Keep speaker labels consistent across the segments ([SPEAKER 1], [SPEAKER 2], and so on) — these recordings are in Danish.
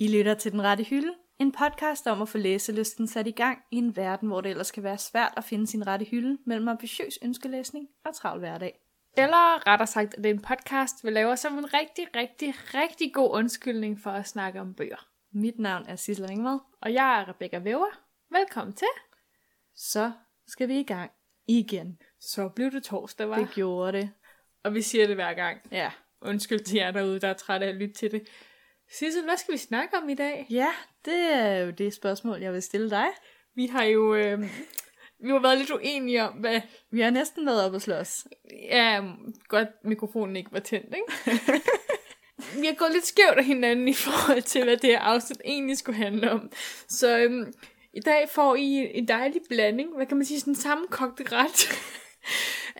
[SPEAKER 1] lytter til Den Rette Hylde, en podcast om at få læselysten sat i gang i en verden, hvor det ellers kan være svært at finde sin rette hylde mellem ambitiøs ønskelæsning og travl hverdag.
[SPEAKER 2] Eller rettere sagt, at det er en podcast, vi laver som en rigtig, rigtig, rigtig god undskyldning for at snakke om bøger.
[SPEAKER 1] Mit navn er Sissel Ringvad,
[SPEAKER 2] Og jeg er Rebecca Væver. Velkommen til.
[SPEAKER 1] så skal vi i gang igen.
[SPEAKER 2] Så blev det torsdag, var.
[SPEAKER 1] Det gjorde det.
[SPEAKER 2] Og vi siger det hver gang.
[SPEAKER 1] Ja.
[SPEAKER 2] Undskyld til jer derude, der er trætte af at lytte til det. Sissel, hvad skal vi snakke om i dag?
[SPEAKER 1] Ja, det er jo det spørgsmål, jeg vil stille dig.
[SPEAKER 2] Vi har jo... Øh, vi har været lidt uenige om, hvad...
[SPEAKER 1] Vi har næsten været op og slås.
[SPEAKER 2] Ja, godt mikrofonen ikke var tændt, ikke? vi har gået lidt skævt af hinanden i forhold til, hvad det her afsnit egentlig skulle handle om. Så øhm, i dag får I en dejlig blanding, hvad kan man sige, sådan en sammenkogt ret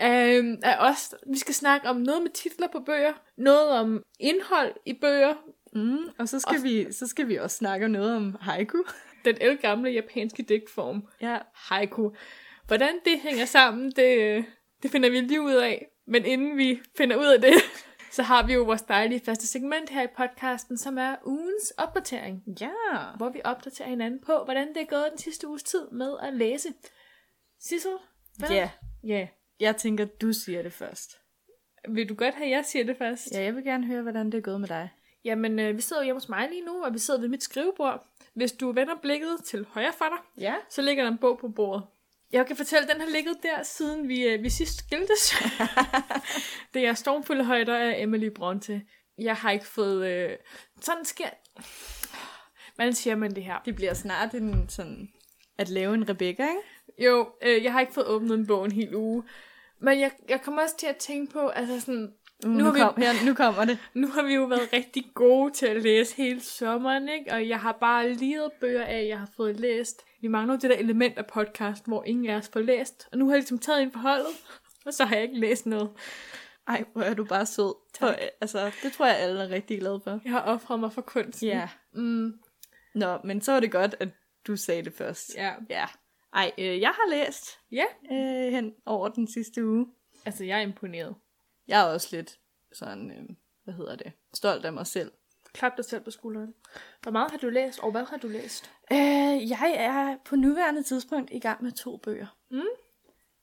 [SPEAKER 2] øhm, af os. Vi skal snakke om noget med titler på bøger, noget om indhold i bøger,
[SPEAKER 1] Mm, og så skal, vi, så skal vi også snakke om noget om haiku.
[SPEAKER 2] den elgamle japanske digtform,
[SPEAKER 1] Ja,
[SPEAKER 2] haiku. Hvordan det hænger sammen, det, øh, det finder vi lige ud af. Men inden vi finder ud af det, så har vi jo vores dejlige faste segment her i podcasten, som er ugens opdatering.
[SPEAKER 1] ja.
[SPEAKER 2] Hvor vi opdaterer hinanden på, hvordan det er gået den sidste uges tid med at læse. Sissel? hvad?
[SPEAKER 1] Ja,
[SPEAKER 2] Ja.
[SPEAKER 1] jeg tænker, du siger det først.
[SPEAKER 2] Vil du godt have, at jeg siger det først?
[SPEAKER 1] Ja, jeg vil gerne høre, hvordan det er gået med dig.
[SPEAKER 2] Jamen, øh, vi sidder jo hjemme hos mig lige nu, og vi sidder ved mit skrivebord. Hvis du vender blikket til højre for dig,
[SPEAKER 1] Ja.
[SPEAKER 2] Så ligger der en bog på bordet. Jeg kan fortælle, at den har ligget der, siden vi, øh, vi sidst skiltes. det er Stormfulde Højder af Emily Bronte. Jeg har ikke fået... Øh... Sådan sker... Hvordan siger man det her?
[SPEAKER 1] Det bliver snart en sådan at lave en Rebecca, ikke?
[SPEAKER 2] Jo, øh, jeg har ikke fået åbnet en bog en hel uge. Men jeg, jeg kommer også til at tænke på, altså sådan,
[SPEAKER 1] Mm,
[SPEAKER 2] Nu har vi-
[SPEAKER 1] her, nu kommer det.
[SPEAKER 2] nu har vi jo været rigtig gode til at læse hele sommeren, ikke? Og jeg har bare liret bøger af, jeg har fået læst. Vi mangler jo det der element af podcast, hvor ingen af os får læst. Og nu har jeg ligesom taget ind på holdet, og så har jeg ikke læst noget.
[SPEAKER 1] Ej, hvor er du bare sød. For, altså, det tror jeg, alle er rigtig glade for.
[SPEAKER 2] Jeg har offret mig for kunsten. Mm,
[SPEAKER 1] Nå, men så var det godt, at du sagde det først.
[SPEAKER 2] ja.
[SPEAKER 1] ja. Ej, øh, jeg har læst
[SPEAKER 2] ja.
[SPEAKER 1] øh, hen over den sidste uge.
[SPEAKER 2] Altså, jeg er imponeret.
[SPEAKER 1] Jeg er også lidt sådan, øh, hvad hedder det, stolt af mig selv.
[SPEAKER 2] Klap dig selv på skulderen. Hvor meget har du læst, og hvad har du læst?
[SPEAKER 1] Øh, jeg er på nuværende tidspunkt i gang med to bøger.
[SPEAKER 2] Mm.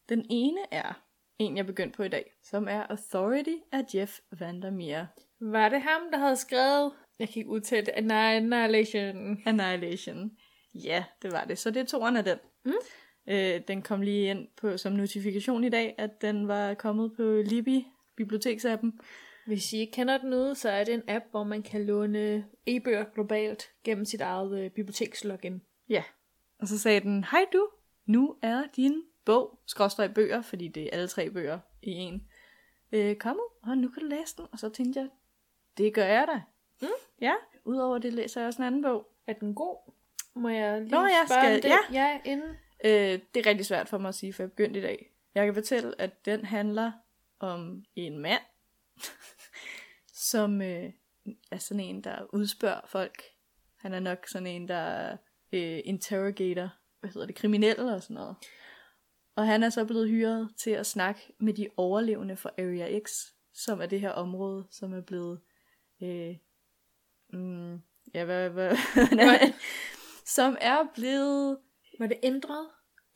[SPEAKER 1] Den ene er en, jeg begyndte på i dag, som er Authority af Jeff Vandermeer.
[SPEAKER 2] Var det ham, der havde skrevet... Jeg kan ikke udtale det. Annihilation.
[SPEAKER 1] Annihilation. Ja, det var det. Så det er toeren af den.
[SPEAKER 2] Mm.
[SPEAKER 1] Øh, den kom lige ind på som notifikation i dag, at den var kommet på Libby, biblioteksappen.
[SPEAKER 2] Hvis I ikke kender den ude, så er det en app, hvor man kan låne e-bøger globalt gennem sit eget øh, bibliotekslogin.
[SPEAKER 1] Ja. Og så sagde den, hej du, nu er din bog, skråstrej bøger, fordi det er alle tre bøger i en, øh, kommet, og nu kan du læse den. Og så tænkte jeg, det gør jeg da.
[SPEAKER 2] Mm.
[SPEAKER 1] Ja, udover det læser jeg også en anden bog.
[SPEAKER 2] Er den god? Må jeg lige
[SPEAKER 1] Nå, jeg
[SPEAKER 2] spørge
[SPEAKER 1] skal-
[SPEAKER 2] om det?
[SPEAKER 1] ja.
[SPEAKER 2] ja inden.
[SPEAKER 1] Øh, det er rigtig svært for mig at sige, for jeg begyndte i dag. Jeg kan fortælle, at den handler om en mand, som øh, er sådan en, der udspørger folk. Han er nok sådan en, der er, øh, interrogator, hvad hedder det, kriminelle og sådan noget. Og han er så blevet hyret til at snakke med de overlevende fra Area X, som er det her område, som er blevet... Øh, mm, ja, hvad, hvad,
[SPEAKER 2] Hvad?
[SPEAKER 1] som er blevet
[SPEAKER 2] Var det ændret?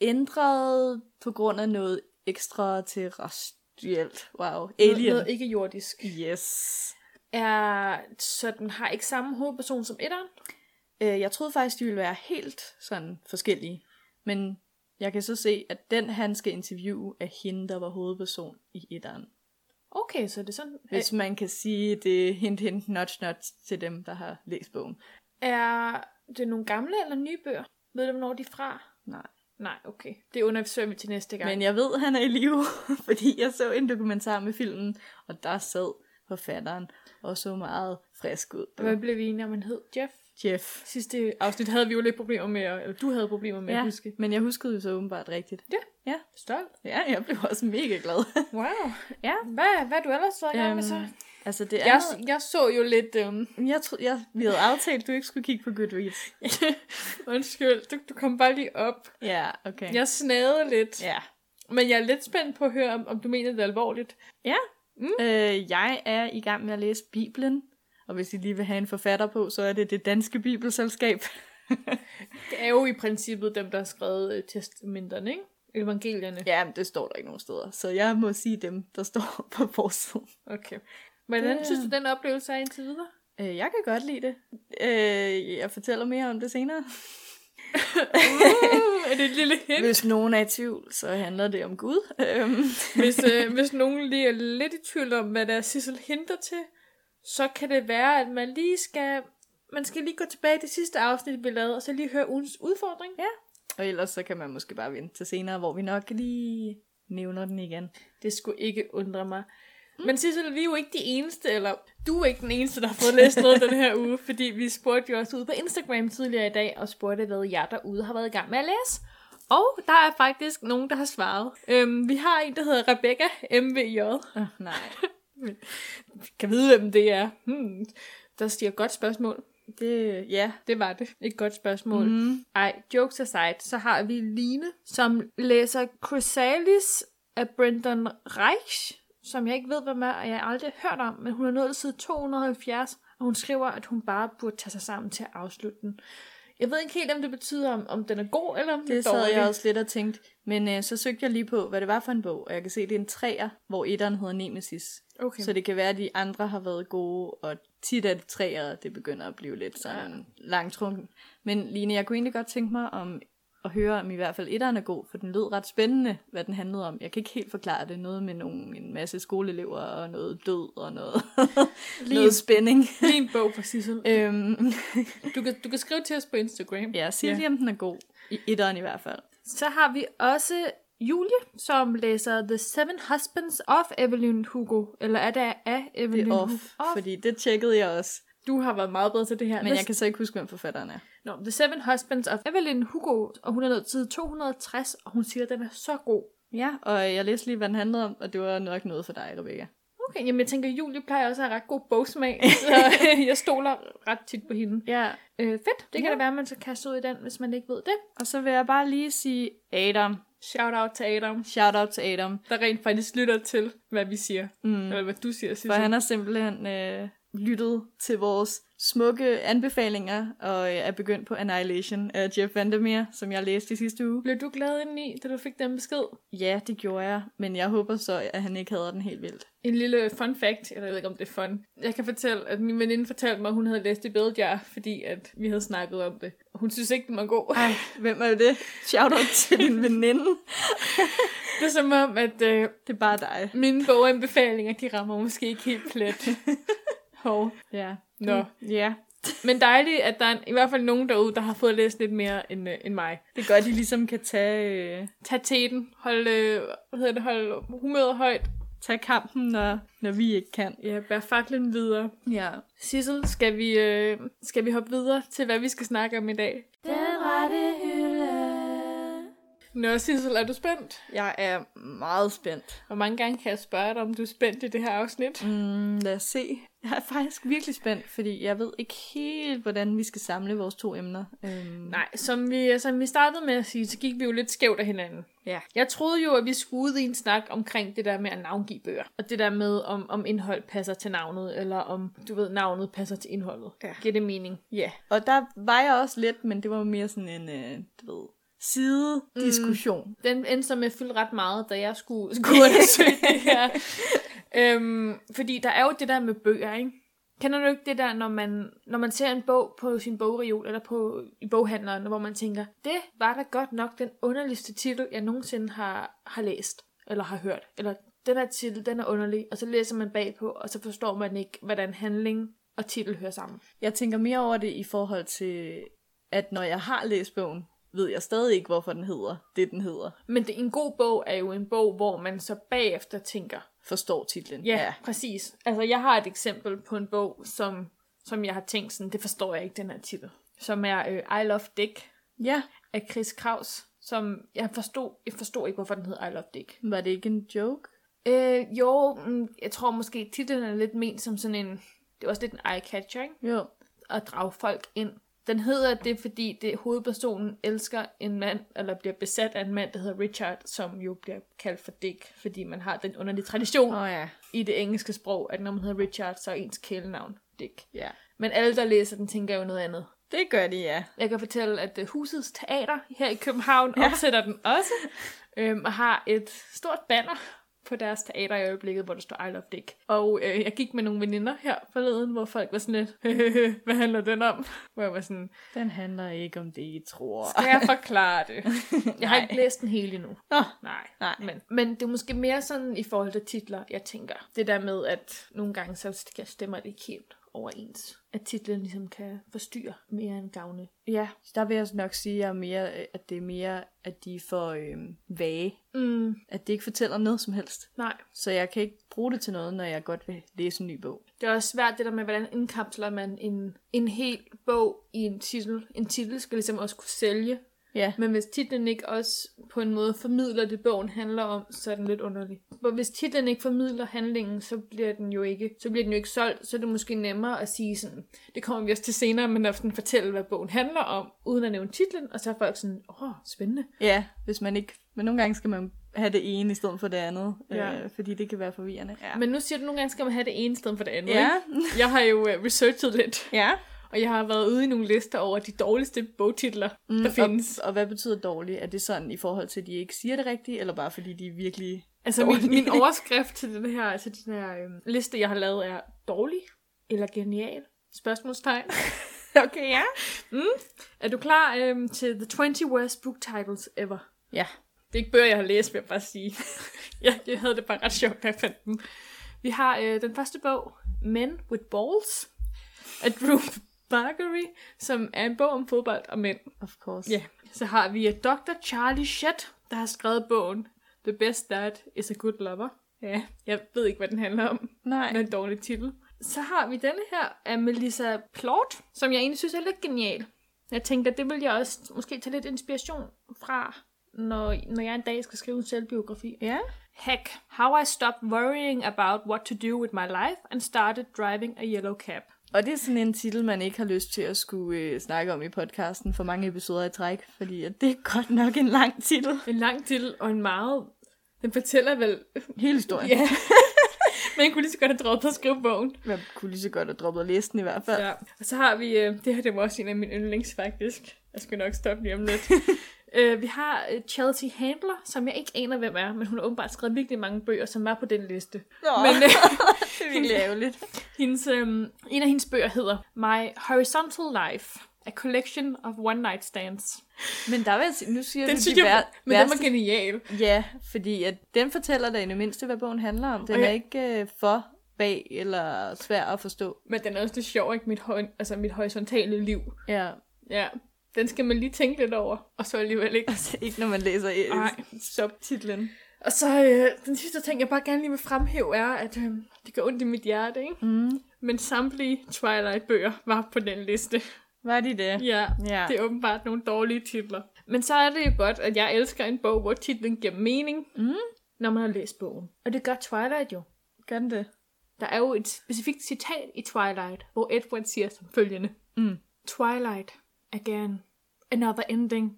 [SPEAKER 1] ændret på grund af noget ekstra terrestrielt. Wow.
[SPEAKER 2] Noget,
[SPEAKER 1] Alien.
[SPEAKER 2] noget ikke jordisk.
[SPEAKER 1] Yes.
[SPEAKER 2] Er, så den har ikke samme hovedperson som etteren?
[SPEAKER 1] Øh, jeg troede faktisk, de ville være helt sådan forskellige. Men jeg kan så se, at den han skal interviewe, er hende, der var hovedperson i etteren.
[SPEAKER 2] Okay, så er det sådan.
[SPEAKER 1] Hvis man kan sige, det er hint, hint, notch, notch til dem, der har læst bogen.
[SPEAKER 2] Er det nogle gamle eller nye bøger? Ved du, hvornår de er fra?
[SPEAKER 1] Nej.
[SPEAKER 2] Nej, okay. Det undersøger vi til næste gang.
[SPEAKER 1] Men jeg ved, han er i live, fordi jeg så en dokumentar med filmen, og der sad forfatteren og så meget frisk ud.
[SPEAKER 2] Hvad blev vi enige om, han hed? Jeff?
[SPEAKER 1] Jeff.
[SPEAKER 2] Sidste afsnit havde vi jo lidt problemer med, eller du havde problemer med ja. at huske.
[SPEAKER 1] men jeg huskede jo så åbenbart rigtigt.
[SPEAKER 2] Stolt.
[SPEAKER 1] Ja, jeg blev også mega glad.
[SPEAKER 2] Wow.
[SPEAKER 1] Ja.
[SPEAKER 2] Hvad, hvad er du ellers så i gang med så?
[SPEAKER 1] Øhm, altså, det er
[SPEAKER 2] Jeg, jeg så jo lidt... Øhm,
[SPEAKER 1] noget, jeg, tro, jeg, vi havde aftalt, at du ikke skulle kigge på Goodreads.
[SPEAKER 2] undskyld, du, du kom bare lige op.
[SPEAKER 1] Ja, okay.
[SPEAKER 2] Jeg snagede lidt.
[SPEAKER 1] Ja.
[SPEAKER 2] Men jeg er lidt spændt på at høre,
[SPEAKER 1] Mm.
[SPEAKER 2] om, om du mener det alvorligt.
[SPEAKER 1] Øh, jeg er i gang med at læse Bibelen, Og hvis I lige vil have en forfatter på, så er det det danske bibelselskab.
[SPEAKER 2] Det er jo i princippet dem, der har skrevet øh, testamenterne, ikke? Evangelierne.
[SPEAKER 1] Ja, men det står der ikke nogen steder. Så jeg må sige dem, der står på forsiden.
[SPEAKER 2] Okay. Hvordan
[SPEAKER 1] Det-
[SPEAKER 2] synes du, den oplevelse er indtil videre?
[SPEAKER 1] Øh, jeg kan godt lide det. Øh, jeg fortæller mere om det senere.
[SPEAKER 2] Uh, er det et lille hint?
[SPEAKER 1] Hvis nogen er i tvivl, så handler det om Gud. Øhm,
[SPEAKER 2] Hvis, øh, hvis nogen lige er lidt i tvivl om, hvad der er Sissel hinter til, så kan det være, at man lige skal... Man skal lige gå tilbage i det sidste afsnit, vi lavede, og så lige høre ugens udfordring. Ja.
[SPEAKER 1] og ellers så kan man måske bare vente til senere, hvor vi nok lige nævner den igen.
[SPEAKER 2] Det skulle ikke undre mig. Men Sissel, vi er jo ikke de eneste, eller du er ikke den eneste, der har fået læst noget den her uge, fordi vi spurgte jo også ude på Instagram tidligere i dag, og spurgte, hvad jer derude har været i gang med at læse. Og der er faktisk nogen, der har svaret. Øhm, vi har en, der hedder Rebecca MVJ.
[SPEAKER 1] Oh, nej,
[SPEAKER 2] Kan vide, hvem det er. Hmm. Der stiger godt spørgsmål.
[SPEAKER 1] det... Ja.
[SPEAKER 2] Det var det. Et godt spørgsmål.
[SPEAKER 1] Mhm.
[SPEAKER 2] Mm. Ej, jokes aside, så har vi Line, som læser Chrysalis af Brendan Reich, som jeg ikke ved, hvad er, og jeg har aldrig hørt om, men hun er nået til side 270, og hun skriver, at hun bare burde tage sig sammen til at afslutte den. Jeg ved ikke helt, om det betyder, om, om den er god, eller om den er
[SPEAKER 1] Det
[SPEAKER 2] dårlig.
[SPEAKER 1] sad jeg også lidt og tænkte. Men øh, så søgte jeg lige på, hvad det var for en bog, og jeg kan se, det er en træer, hvor etteren hedder Nemesis.
[SPEAKER 2] Okay.
[SPEAKER 1] Så det kan være, at de andre har været gode, og tit er det træer, det begynder at blive lidt sådan ja. langtrunken. Men Line, jeg kunne egentlig godt tænke mig om at høre, om i hvert fald etteren er god, for den lød ret spændende, hvad den handlede om. Jeg kan ikke helt forklare det. Noget med nogle, en masse skoleelever og noget død og noget, noget spænding.
[SPEAKER 2] Lige en bog for Sissel.
[SPEAKER 1] Øhm,
[SPEAKER 2] Du kan, du kan skrive til os på Instagram.
[SPEAKER 1] ja, sig lige, om den er god. I etteren i hvert fald.
[SPEAKER 2] Så har vi også Julie, som læser The Seven Husbands of Evelyn Hugo. Eller er det af Evelyn
[SPEAKER 1] Det er
[SPEAKER 2] Hugo?
[SPEAKER 1] off, fordi det tjekkede jeg også.
[SPEAKER 2] Du har været meget bedre til det her.
[SPEAKER 1] Men
[SPEAKER 2] The-
[SPEAKER 1] jeg kan så ikke huske, hvem forfatteren er.
[SPEAKER 2] Nå, The Seven Husbands of Evelyn Hugo, og hun er nået til side 260, og hun siger, at den er så god.
[SPEAKER 1] Ja, og jeg læste lige, hvad den handlede om, og det var nok noget for dig, Rebecca.
[SPEAKER 2] Okay, jamen jeg tænker, Julie plejer også at have ret god bogsmag, så jeg stoler ret tit på hende.
[SPEAKER 1] Ja,
[SPEAKER 2] Øh, fedt, det kan
[SPEAKER 1] Ja.
[SPEAKER 2] da være, at man skal kaste sig ud i den, hvis man ikke ved det.
[SPEAKER 1] og så vil jeg bare lige sige Adam.
[SPEAKER 2] Shout out til Adam,
[SPEAKER 1] Shout out til Adam.
[SPEAKER 2] der rent faktisk lytter til, hvad vi siger. Mm. Eller hvad du siger,
[SPEAKER 1] For
[SPEAKER 2] Sissel.
[SPEAKER 1] han har simpelthen øh, lyttet til vores smukke anbefalinger, og øh, er begyndt på Annihilation af Jeff Vandermeer, som jeg læste i sidste uge.
[SPEAKER 2] Blev du glad indeni, da du fik den besked?
[SPEAKER 1] Ja, det gjorde jeg, men jeg håber så, at han ikke hader den helt vildt.
[SPEAKER 2] En lille fun fact, eller jeg ved ikke om det er fun. Jeg kan fortælle, at min veninde fortalte mig, at hun havde læst det bedre, fordi at vi havde snakket om det. Og Hun synes ikke, den var god.
[SPEAKER 1] Ej, hvem er det? Shout out til din veninde.
[SPEAKER 2] Det er som om, at øh,
[SPEAKER 1] Det er bare dig.
[SPEAKER 2] mine boganbefalinger, de rammer måske ikke helt plet. Hov.
[SPEAKER 1] Ja.
[SPEAKER 2] Nå.
[SPEAKER 1] Ja.
[SPEAKER 2] Men dejligt, at der er i hvert fald nogen derude, der har fået læst lidt mere end, øh, end mig.
[SPEAKER 1] Det er godt, de ligesom kan tage... Øh,
[SPEAKER 2] Tag teten. Hold, øh, hvad hedder det, hold humøret højt.
[SPEAKER 1] tage kampen, når, når vi ikke kan.
[SPEAKER 2] Ja, bær faklen videre.
[SPEAKER 1] Ja.
[SPEAKER 2] Sissel, skal vi, øh, skal vi hoppe videre til, hvad vi skal snakke om i dag?
[SPEAKER 1] Den rette hylde.
[SPEAKER 2] Nå, Sissel, er du spændt?
[SPEAKER 1] Jeg er meget spændt.
[SPEAKER 2] Hvor mange gange kan jeg spørge dig, om du er spændt i det her afsnit? Mm.
[SPEAKER 1] Mm, lad os se. Jeg er faktisk virkelig spændt, fordi jeg ved ikke helt, hvordan vi skal samle vores to emner. Øhm,
[SPEAKER 2] Nej, som vi, som vi startede med at sige, så gik vi jo lidt skævt af hinanden.
[SPEAKER 1] ja.
[SPEAKER 2] Jeg troede jo, at vi skulle ud i en snak omkring det der med at navngive bøger. Og det der med, om, om indhold passer til navnet, eller om, du ved, navnet passer til indholdet.
[SPEAKER 1] Ja.
[SPEAKER 2] Giver det mening? Ja. Yeah.
[SPEAKER 1] Og der var jeg også lidt, men det var mere sådan en, øh, du ved, sidediskussion.
[SPEAKER 2] den endte så med at fylde ret meget, da jeg skulle, skulle undersøge det her. Øhm, fordi der er jo det der med bøger, ikke? Kender du ikke det der, når man, når man ser en bog på sin bogreol, eller på, i boghandleren, hvor man tænker, det var da godt nok den underligste titel, jeg nogensinde har, har læst, eller har hørt, eller den her titel, den er underlig, og så læser man bagpå, og så forstår man ikke, hvordan handling og titel hører sammen.
[SPEAKER 1] Jeg tænker mere over det i forhold til, at når jeg har læst bogen, ved jeg stadig ikke, hvorfor den hedder det, den hedder.
[SPEAKER 2] Men det, en god bog er jo en bog, hvor man så bagefter tænker,
[SPEAKER 1] Forstår titlen.
[SPEAKER 2] Ja, ja, præcis. Altså, jeg har et eksempel på en bog, som, som jeg har tænkt sådan, det forstår jeg ikke, den her titel. Som er øh, I Love Dick
[SPEAKER 1] Ja.
[SPEAKER 2] af Chris Kraus, som jeg forstod, jeg forstod ikke, hvorfor den hed I Love Dick.
[SPEAKER 1] Var det ikke en joke?
[SPEAKER 2] Øh, jo, mm, jeg tror måske, titlen er lidt ment som sådan en, det er også lidt en eye-catcher, ikke?
[SPEAKER 1] Jo.
[SPEAKER 2] At drage folk ind. Den hedder det, fordi det hovedpersonen elsker en mand, eller bliver besat af en mand, der hedder Richard, som jo bliver kaldt for Dick, fordi man har den underlige tradition
[SPEAKER 1] Åh oh, ja.
[SPEAKER 2] i det engelske sprog, at når man hedder Richard, så er ens kælenavn dæk.
[SPEAKER 1] Ja.
[SPEAKER 2] Men alle, der læser den, tænker jo noget andet.
[SPEAKER 1] Det gør de, ja.
[SPEAKER 2] Jeg kan fortælle, at øh, husets teater her i København
[SPEAKER 1] Ja.
[SPEAKER 2] ja. opsætter den også, øhm, og har et stort banner på deres teater i øjeblikket, hvor der står I love dick. Og øh, jeg gik med nogle veninder her forleden, hvor folk var sådan lidt, hvad handler den om? Hvor jeg var sådan,
[SPEAKER 1] Den handler ikke om det, I tror.
[SPEAKER 2] skal jeg forklare det? Jeg har
[SPEAKER 1] Nej.
[SPEAKER 2] ikke læst den hele endnu.
[SPEAKER 1] Nå,
[SPEAKER 2] Nej,
[SPEAKER 1] Nej.
[SPEAKER 2] Men, men det er måske mere sådan i forhold til titler, jeg tænker. Det der med, at nogle gange så stemmer det ikke helt overens. At titlen ligesom kan forstyrre mere end gavne.
[SPEAKER 1] ja. Der vil jeg nok sige, at, jeg er mere, øh, at det er mere, at de er for øhm, vage.
[SPEAKER 2] Mm,
[SPEAKER 1] At det ikke fortæller noget som helst.
[SPEAKER 2] nej,
[SPEAKER 1] Så jeg kan ikke bruge det til noget, når jeg godt vil læse en ny bog.
[SPEAKER 2] Det er også svært det der med, hvordan indkapsler man en, en hel bog i en titel. En titel skal ligesom også kunne sælge.
[SPEAKER 1] Ja,
[SPEAKER 2] Men hvis titlen ikke også på en måde formidler det, bogen handler om, så er den lidt underlig. For hvis titlen ikke formidler handlingen, så bliver den jo ikke, så bliver den jo ikke solgt. Så er det måske nemmere at sige sådan, det kommer vi også til senere, men at sådan fortælle, hvad bogen handler om, uden at nævne titlen. Og så er folk sådan, åh, oh, spændende.
[SPEAKER 1] ja hvis man ikke... Men nogle gange skal man have det ene i stedet for det andet.
[SPEAKER 2] Ja.
[SPEAKER 1] Øh, fordi det kan være forvirrende. Ja.
[SPEAKER 2] Men nu siger du, at nogle gange skal man have det ene sted for det andet.
[SPEAKER 1] Ja.
[SPEAKER 2] Ikke? Jeg har jo øh, researchet lidt.
[SPEAKER 1] ja.
[SPEAKER 2] Og jeg har været ude i nogle lister over de dårligste bogtitler, mm, der findes.
[SPEAKER 1] Og, og hvad betyder dårligt? Er det sådan i forhold til, at de ikke siger det rigtigt, eller bare fordi de er virkelig...
[SPEAKER 2] altså min,
[SPEAKER 1] dårlige.
[SPEAKER 2] min overskrift til den her, til den her øhm, liste, jeg har lavet, er dårlig eller genial? Spørgsmålstegn.
[SPEAKER 1] Okay, ja.
[SPEAKER 2] er du klar øhm, til The 20 Worst Book Titles Ever?
[SPEAKER 1] Ja.
[SPEAKER 2] Det er ikke bøger, jeg har læst, vil jeg bare sige. jeg, jeg havde det bare ret sjovt, da jeg fandt dem. Vi har øh, den første bog, Men with Balls, af Drew Bargery, som er en bog om fodbold og mænd.
[SPEAKER 1] Of course.
[SPEAKER 2] Ja. Så har vi øh, Dr. Charlie Shett, der har skrevet bogen The Best Dad is a Good Lover. Ja, jeg ved ikke, hvad den handler om.
[SPEAKER 1] Nej.
[SPEAKER 2] Den er en dårlig titel. Så har vi denne her af Melissa Plort, som jeg egentlig synes er lidt genial. Jeg tænker, det vil jeg også måske tage lidt inspiration fra, når, når jeg en dag skal skrive en selvbiografi.
[SPEAKER 1] Ja.
[SPEAKER 2] Heck, How I Stopped Worrying About What to Do With My Life and Started Driving a Yellow Cab.
[SPEAKER 1] Og det er sådan en titel, man ikke har lyst til at skulle øh, snakke om i podcasten for mange episoder i træk, fordi at det er godt nok en lang titel.
[SPEAKER 2] En lang titel og en meget... Den fortæller vel
[SPEAKER 1] Hele historien.
[SPEAKER 2] Ja. Men jeg kunne lige så godt have droppet at skrive bogen.
[SPEAKER 1] Man kunne lige så godt have droppet listen i hvert fald.
[SPEAKER 2] Ja. Og så har vi, øh, det her det var også en af mine yndlings faktisk. Jeg skal nok stoppe lige om lidt. øh, vi har øh, Chelsea Handler, som jeg ikke aner, hvem er, men hun har åbenbart skrevet virkelig mange bøger, som var på den liste.
[SPEAKER 1] Nå.
[SPEAKER 2] Men øh,
[SPEAKER 1] Det er virkelig ærgerligt.
[SPEAKER 2] hendes, øh, en af hendes bøger hedder My Horizontal Life, A Collection of One Night Stands.
[SPEAKER 1] Men der vil jeg sige, nu siger
[SPEAKER 2] Den
[SPEAKER 1] du
[SPEAKER 2] synes
[SPEAKER 1] de
[SPEAKER 2] jeg,
[SPEAKER 1] vær-
[SPEAKER 2] men den var
[SPEAKER 1] værste-
[SPEAKER 2] genial.
[SPEAKER 1] Ja, fordi at den fortæller dig i det mindste, hvad bogen handler om. Den
[SPEAKER 2] Og jeg-
[SPEAKER 1] er ikke øh, for bag eller svær at forstå.
[SPEAKER 2] Men den er også lidt sjov, ikke? Mit, høj, altså mit horisontale liv.
[SPEAKER 1] Ja,
[SPEAKER 2] Ja, den skal man lige tænke lidt over, og så alligevel ikke.
[SPEAKER 1] altså ikke når man læser
[SPEAKER 2] Nej.
[SPEAKER 1] øh, subtitlen.
[SPEAKER 2] Og så øh, den sidste ting, jeg bare gerne lige vil fremhæve, er, at øh, det gør ondt i mit hjerte, ikke?
[SPEAKER 1] Mm.
[SPEAKER 2] Men samtlige Twilight-bøger var på den liste.
[SPEAKER 1] Var de det?
[SPEAKER 2] Ja,
[SPEAKER 1] Ja.
[SPEAKER 2] det er åbenbart nogle dårlige titler. Men så er det jo godt, at jeg elsker en bog, hvor titlen giver mening,
[SPEAKER 1] Mm.
[SPEAKER 2] når man har læst bogen. Og det gør Twilight jo.
[SPEAKER 1] Gør den det?
[SPEAKER 2] Der er jo et specifikt citat i Twilight, hvor Edward siger som følgende.
[SPEAKER 1] Mm.
[SPEAKER 2] Twilight, again, another ending.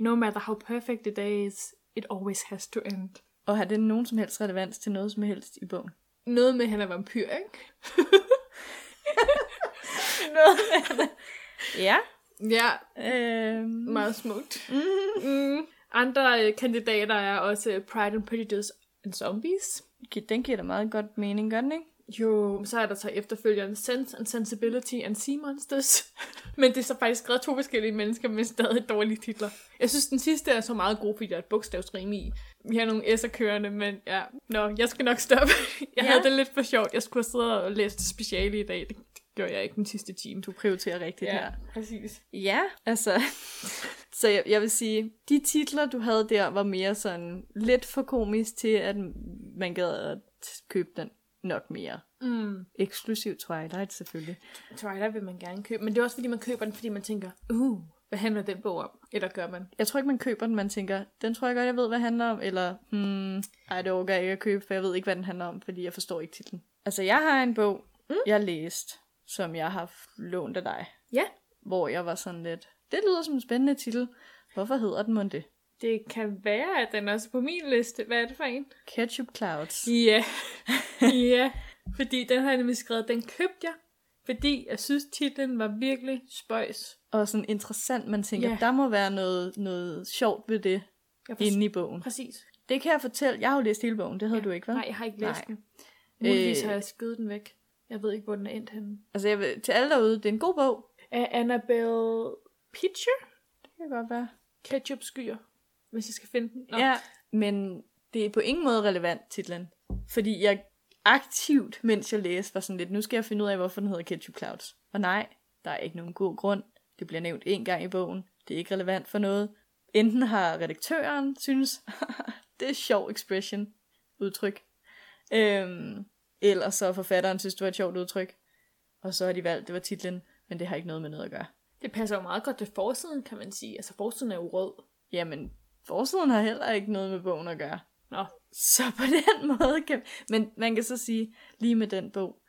[SPEAKER 2] No matter how perfect the day is, it always has to end.
[SPEAKER 1] Og har det nogen som helst relevans til noget som helst i bogen?
[SPEAKER 2] Noget med, at han er vampyr, ikke?
[SPEAKER 1] Ja.
[SPEAKER 2] Ja,
[SPEAKER 1] Øhm,
[SPEAKER 2] meget smukt. Mm. Andre øh, kandidater er også øh, Pride and Prejudice and Zombies.
[SPEAKER 1] gi- den giver da meget godt mening, gør den ikke?
[SPEAKER 2] Jo, så er der så efterfølgeren Sense and Sensibility and Sea Monsters. Men det er så faktisk skrevet to forskellige mennesker med stadig dårlige titler. Jeg synes, den sidste er så meget god, fordi der er et bogstavsrim i. Vi har nogle S'er kørende, men ja. Nå, jeg skal nok stoppe. Jeg
[SPEAKER 1] Ja.
[SPEAKER 2] ja. havde det lidt for sjovt. Jeg skulle have siddet og læst speciale i dag. Det, det gjorde jeg ikke den sidste time.
[SPEAKER 1] Du prioriterer rigtigt her.
[SPEAKER 2] præcis.
[SPEAKER 1] Ja, altså... Så jeg, jeg vil sige, de titler, du havde der, var mere sådan lidt for komisk til, at man gad at t- købe den nok mere.
[SPEAKER 2] Mm.
[SPEAKER 1] Eksklusiv Twilight, selvfølgelig.
[SPEAKER 2] Twilight vil man gerne købe, men det er også fordi, man køber den, fordi man tænker, uh, hvad handler den bog om? Eller gør man?
[SPEAKER 1] Jeg tror ikke, man køber den, man tænker, den tror jeg godt, jeg ved, hvad den handler om, eller, hmm, ej, det orker jeg ikke at købe, for jeg ved ikke, hvad den handler om, fordi jeg forstår ikke titlen. Altså, jeg har en bog, mm. jeg har læst, som jeg har f- lånt af dig,
[SPEAKER 2] Ja.
[SPEAKER 1] hvor jeg var sådan lidt, det lyder som en spændende titel, hvorfor hedder den mon det?
[SPEAKER 2] Det kan være, at den er også på min liste. Hvad er det for en?
[SPEAKER 1] Ketchup Clouds.
[SPEAKER 2] Ja. ja. Fordi den har jeg nemlig skrevet, den købte jeg Fordi jeg synes, titlen var virkelig spøjs.
[SPEAKER 1] Og sådan interessant, man tænker,
[SPEAKER 2] Ja.
[SPEAKER 1] yeah. der må være noget, noget sjovt ved det
[SPEAKER 2] Jeg forstår-
[SPEAKER 1] inde i bogen.
[SPEAKER 2] Præcis.
[SPEAKER 1] Det kan jeg fortælle. Jeg har jo læst hele bogen, det havde
[SPEAKER 2] Ja.
[SPEAKER 1] du ikke, vel?
[SPEAKER 2] Nej, jeg har ikke læst
[SPEAKER 1] Nej.
[SPEAKER 2] den. Muligvis
[SPEAKER 1] Øh.
[SPEAKER 2] har jeg skidt den væk. Jeg ved ikke, hvor den er endt henne.
[SPEAKER 1] Altså, jeg vil, til alle derude, det er en god bog.
[SPEAKER 2] Af Annabelle Pitcher?
[SPEAKER 1] Det kan godt være.
[SPEAKER 2] Ketchup skyer, hvis jeg skal finde den. Nå.
[SPEAKER 1] Ja, men det er på ingen måde relevant, titlen. Fordi jeg aktivt, mens jeg læste, var sådan lidt, nu skal jeg finde ud af, hvorfor den hedder Ketchup Clouds. Og nej, der er ikke nogen god grund. Det bliver nævnt én gang i bogen. Det er ikke relevant for noget. Enten har redaktøren synes, det er sjov expression, udtryk. Øhm, eller så har forfatteren synes, det var et sjovt udtryk. Og så har de valgt, det var titlen, men det har ikke noget med noget at gøre.
[SPEAKER 2] Det passer jo meget godt til forsiden, kan man sige. Altså, forsiden er jo rød.
[SPEAKER 1] Jamen, forsiden har heller ikke noget med bogen at gøre.
[SPEAKER 2] Nå,
[SPEAKER 1] Så på den måde kan... Men man kan så sige, lige med den bog,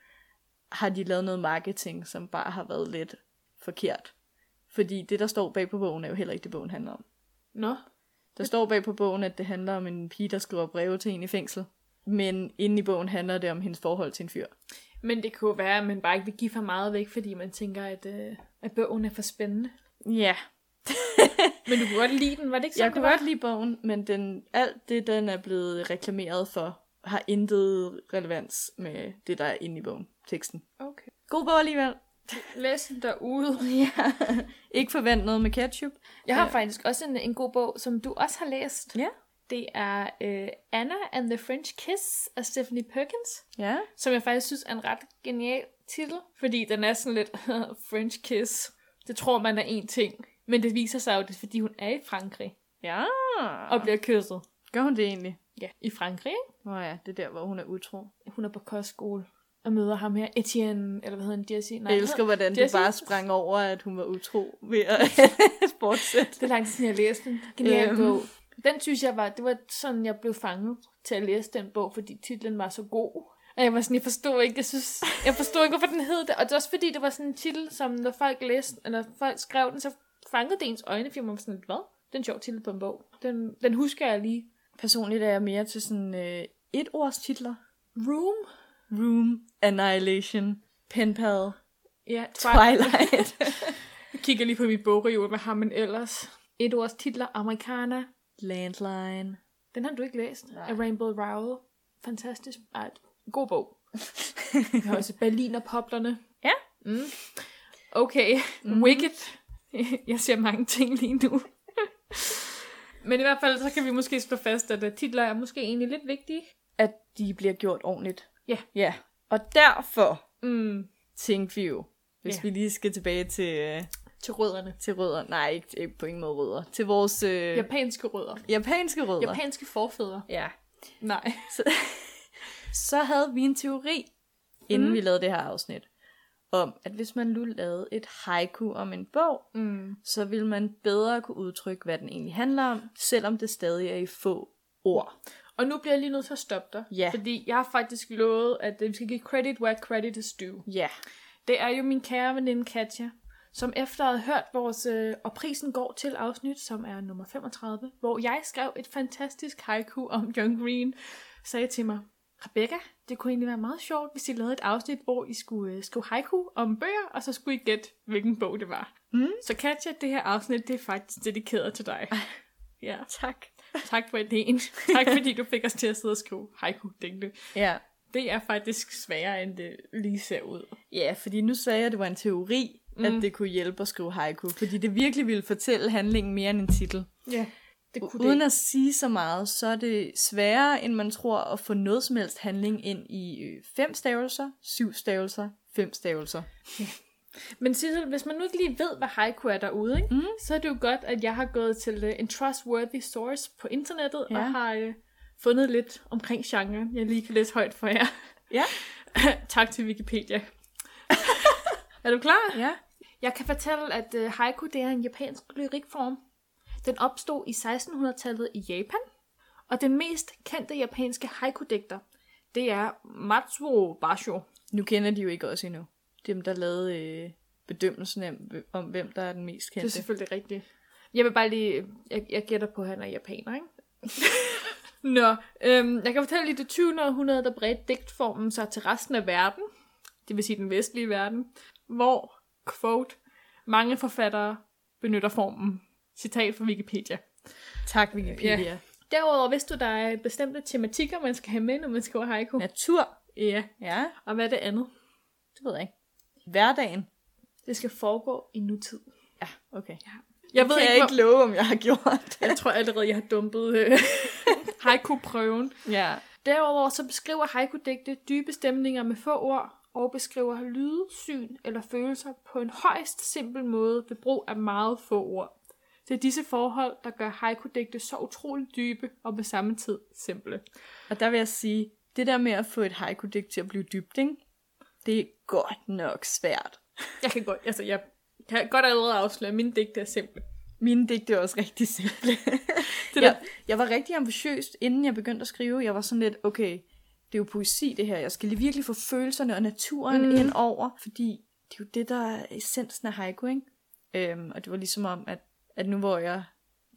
[SPEAKER 1] har de lavet noget marketing, som bare har været lidt forkert. Fordi det, der står bag på bogen, er jo heller ikke det, bogen handler om.
[SPEAKER 2] nå.
[SPEAKER 1] Der står bag på bogen, at det handler om en pige, der skriver breve til en i fængsel. Men inde i bogen handler det om hendes forhold til en fyr.
[SPEAKER 2] Men det kunne jo være, at man bare ikke vil give for meget væk, fordi man tænker, at, øh, at bogen er for spændende.
[SPEAKER 1] Ja,
[SPEAKER 2] Men du kunne godt lide den, var det ikke sådan,
[SPEAKER 1] jeg kunne
[SPEAKER 2] det var?
[SPEAKER 1] godt lide bogen, men den, alt det, den er blevet reklameret for, har intet relevans med det, der er inde i bogen, teksten.
[SPEAKER 2] Okay.
[SPEAKER 1] God bog alligevel.
[SPEAKER 2] Læs den derude.
[SPEAKER 1] Ja. Ikke forvent noget med ketchup.
[SPEAKER 2] Jeg har
[SPEAKER 1] Ja.
[SPEAKER 2] faktisk også en, en god bog, som du også har læst.
[SPEAKER 1] Ja.
[SPEAKER 2] Det er øh, Anna and the French Kiss af Stephanie Perkins,
[SPEAKER 1] Ja.
[SPEAKER 2] som jeg faktisk synes er en ret genial titel, fordi den er sådan lidt French Kiss. Det tror man er én ting, men det viser sig jo, det er, fordi hun er i Frankrig
[SPEAKER 1] Ja.
[SPEAKER 2] og bliver kysset.
[SPEAKER 1] Gør hun det egentlig?
[SPEAKER 2] Ja, i Frankrig, ikke?
[SPEAKER 1] Nå ja, det er der, hvor hun er utro.
[SPEAKER 2] Hun er på kostskole og møder ham her, Etienne, eller hvad hedder han, Jesse? Nej,
[SPEAKER 1] Jeg elsker, hvordan du
[SPEAKER 2] Jessie.
[SPEAKER 1] bare sprang over, at hun var utro ved at fortsætte.
[SPEAKER 2] Det er lang tid siden, jeg læste den. Genial
[SPEAKER 1] Øhm.
[SPEAKER 2] bog. Den synes jeg var, det var sådan, jeg blev fanget til at læse den bog, fordi titlen var så god. Og jeg var sådan, jeg forstod ikke, jeg synes, jeg forstod ikke, hvorfor den hed det. Og det er også fordi, det var sådan en titel, som når folk læste, eller folk skrev den, så fangede det ens øjne, fordi man var sådan lidt, hvad? Den sjov titel på en bog. Den, den husker jeg lige.
[SPEAKER 1] Personligt er jeg mere til sådan øh, et års titler.
[SPEAKER 2] Room?
[SPEAKER 1] Room, Annihilation, Penpal,
[SPEAKER 2] Ja,
[SPEAKER 1] Twilight.
[SPEAKER 2] Jeg kigger lige på mit bogreol med ham, men ellers. Et års titler, Americana.
[SPEAKER 1] Landline.
[SPEAKER 2] Den har du ikke læst.
[SPEAKER 1] Nej.
[SPEAKER 2] Af Rainbow Rowell. Fantastisk. Ej, god bog. Vi har også Berlin og Poplerne.
[SPEAKER 1] Ja.
[SPEAKER 2] Mm. Okay, mm. Wicked. Jeg ser mange ting lige nu. Men i hvert fald, så kan vi måske slå fast, at øh, titler er måske egentlig lidt vigtige.
[SPEAKER 1] At de bliver gjort ordentligt.
[SPEAKER 2] Ja.
[SPEAKER 1] Ja. Og derfor
[SPEAKER 2] Mm.
[SPEAKER 1] tænkte vi jo, hvis
[SPEAKER 2] Ja.
[SPEAKER 1] vi lige skal tilbage til, øh,
[SPEAKER 2] Til rødderne.
[SPEAKER 1] til rødder. Nej, ikke, ikke på ingen måde rødder. Til vores øh,
[SPEAKER 2] Japanske rødder.
[SPEAKER 1] japanske rødder.
[SPEAKER 2] Japanske forfædre.
[SPEAKER 1] Ja.
[SPEAKER 2] Nej.
[SPEAKER 1] Så, så havde vi en teori, inden mm. vi lavede det her afsnit, om at hvis man nu lavede et haiku om en bog,
[SPEAKER 2] Mm.
[SPEAKER 1] så ville man bedre kunne udtrykke, hvad den egentlig handler om, selvom det stadig er i få ord.
[SPEAKER 2] Og nu bliver jeg lige nødt til at stoppe dig.
[SPEAKER 1] Ja.
[SPEAKER 2] Fordi jeg har faktisk lovet, at øh, vi skal give credit where credit is due.
[SPEAKER 1] Ja.
[SPEAKER 2] Det er jo min kære veninde Katja, som efter at have hørt vores øh, Og prisen går til afsnit, som er nummer 35, hvor jeg skrev et fantastisk haiku om John Green, sagde til mig, Rebecca, det kunne egentlig være meget sjovt, hvis I lavede et afsnit, hvor I skulle øh, skrive haiku om bøger, og så skulle I gætte, hvilken bog det var.
[SPEAKER 1] Mm.
[SPEAKER 2] Så Katja, det her afsnit, det er faktisk dedikeret til dig. Ja,
[SPEAKER 1] Tak.
[SPEAKER 2] tak for idéen. Tak fordi du fik os til at sidde og skrive haiku, Dingle.
[SPEAKER 1] Ja.
[SPEAKER 2] Det er faktisk sværere, end det lige ser ud.
[SPEAKER 1] Ja, fordi nu sagde jeg, at det var en teori, mm. at det kunne hjælpe at skrive haiku, fordi det virkelig ville fortælle handlingen mere end en titel.
[SPEAKER 2] Ja, det kunne
[SPEAKER 1] Uden
[SPEAKER 2] det.
[SPEAKER 1] at sige så meget, så er det sværere, end man tror, at få noget som helst handling ind i øh, fem stavelser, syv stavelser, fem stavelser.
[SPEAKER 2] Men Sissel, hvis man nu ikke lige ved, hvad haiku er derude, ikke? Mm. så er det jo godt, at jeg har gået til uh, en trustworthy source på internettet ja.
[SPEAKER 1] Ja.
[SPEAKER 2] og har uh, fundet lidt omkring genren. Jeg lige kan læse højt for jer.
[SPEAKER 1] Ja.
[SPEAKER 2] tak til Wikipedia. er du klar?
[SPEAKER 1] Ja.
[SPEAKER 2] Jeg kan fortælle, at uh, haiku det er en japansk lyrikform. Den opstod i 1600-tallet i Japan, og den mest kendte japanske haiku-digter, det er Matsuo Basho.
[SPEAKER 1] Nu kender de jo ikke os endnu. Dem, der lavede øh, bedømmelsen om, om, hvem der er den mest
[SPEAKER 2] Det er
[SPEAKER 1] kendte.
[SPEAKER 2] selvfølgelig rigtigt. Jeg vil bare lige... Jeg, jeg gætter på, at han er japaner, ikke? Nå, øhm, jeg kan fortælle lige, det 20. århundrede, der bredte digtformen sig til resten af verden. det vil sige den vestlige verden, hvor, quote, mange forfattere benytter formen. Citat fra Wikipedia.
[SPEAKER 1] Tak, Wikipedia.
[SPEAKER 2] Ja. Derudover vidste du, der er bestemte tematikker, man skal have med, når man skriver haiku.
[SPEAKER 1] Natur.
[SPEAKER 2] ja.
[SPEAKER 1] Ja,
[SPEAKER 2] Og hvad er det andet?
[SPEAKER 1] det ved jeg ikke. Hverdagen.
[SPEAKER 2] Det skal foregå i nutid.
[SPEAKER 1] Ja, okay.
[SPEAKER 2] Jeg
[SPEAKER 1] Jeg
[SPEAKER 2] ved
[SPEAKER 1] ved jeg
[SPEAKER 2] ikke,
[SPEAKER 1] ikke love, om jeg har gjort det.
[SPEAKER 2] Jeg tror allerede, jeg har dumpet øh, haiku-prøven.
[SPEAKER 1] ja.
[SPEAKER 2] Derudover så beskriver haiku-digte dybe stemninger med få ord, og beskriver lyde, syn eller følelser på en højst simpel måde ved brug af meget få ord. Det er disse forhold, der gør haiku-digte så utroligt dybe og på samme tid simple.
[SPEAKER 1] Og der vil jeg sige, det der med at få et haiku-digt til at blive dybt, ikke? det er godt nok svært.
[SPEAKER 2] Jeg kan godt, altså jeg kan godt allerede afsløre, at mine digte er simple.
[SPEAKER 1] Mine digte er også rigtig simple.
[SPEAKER 2] der-
[SPEAKER 1] jeg, jeg var rigtig ambitiøs, inden jeg begyndte at skrive. Jeg var sådan lidt, okay, det er jo poesi det her. Jeg skal lige virkelig få følelserne og naturen
[SPEAKER 2] Mm.
[SPEAKER 1] mm. ind over, fordi det er jo det, der er essensen af haiku, ikke? Øhm, og det var ligesom om, at, at nu hvor jeg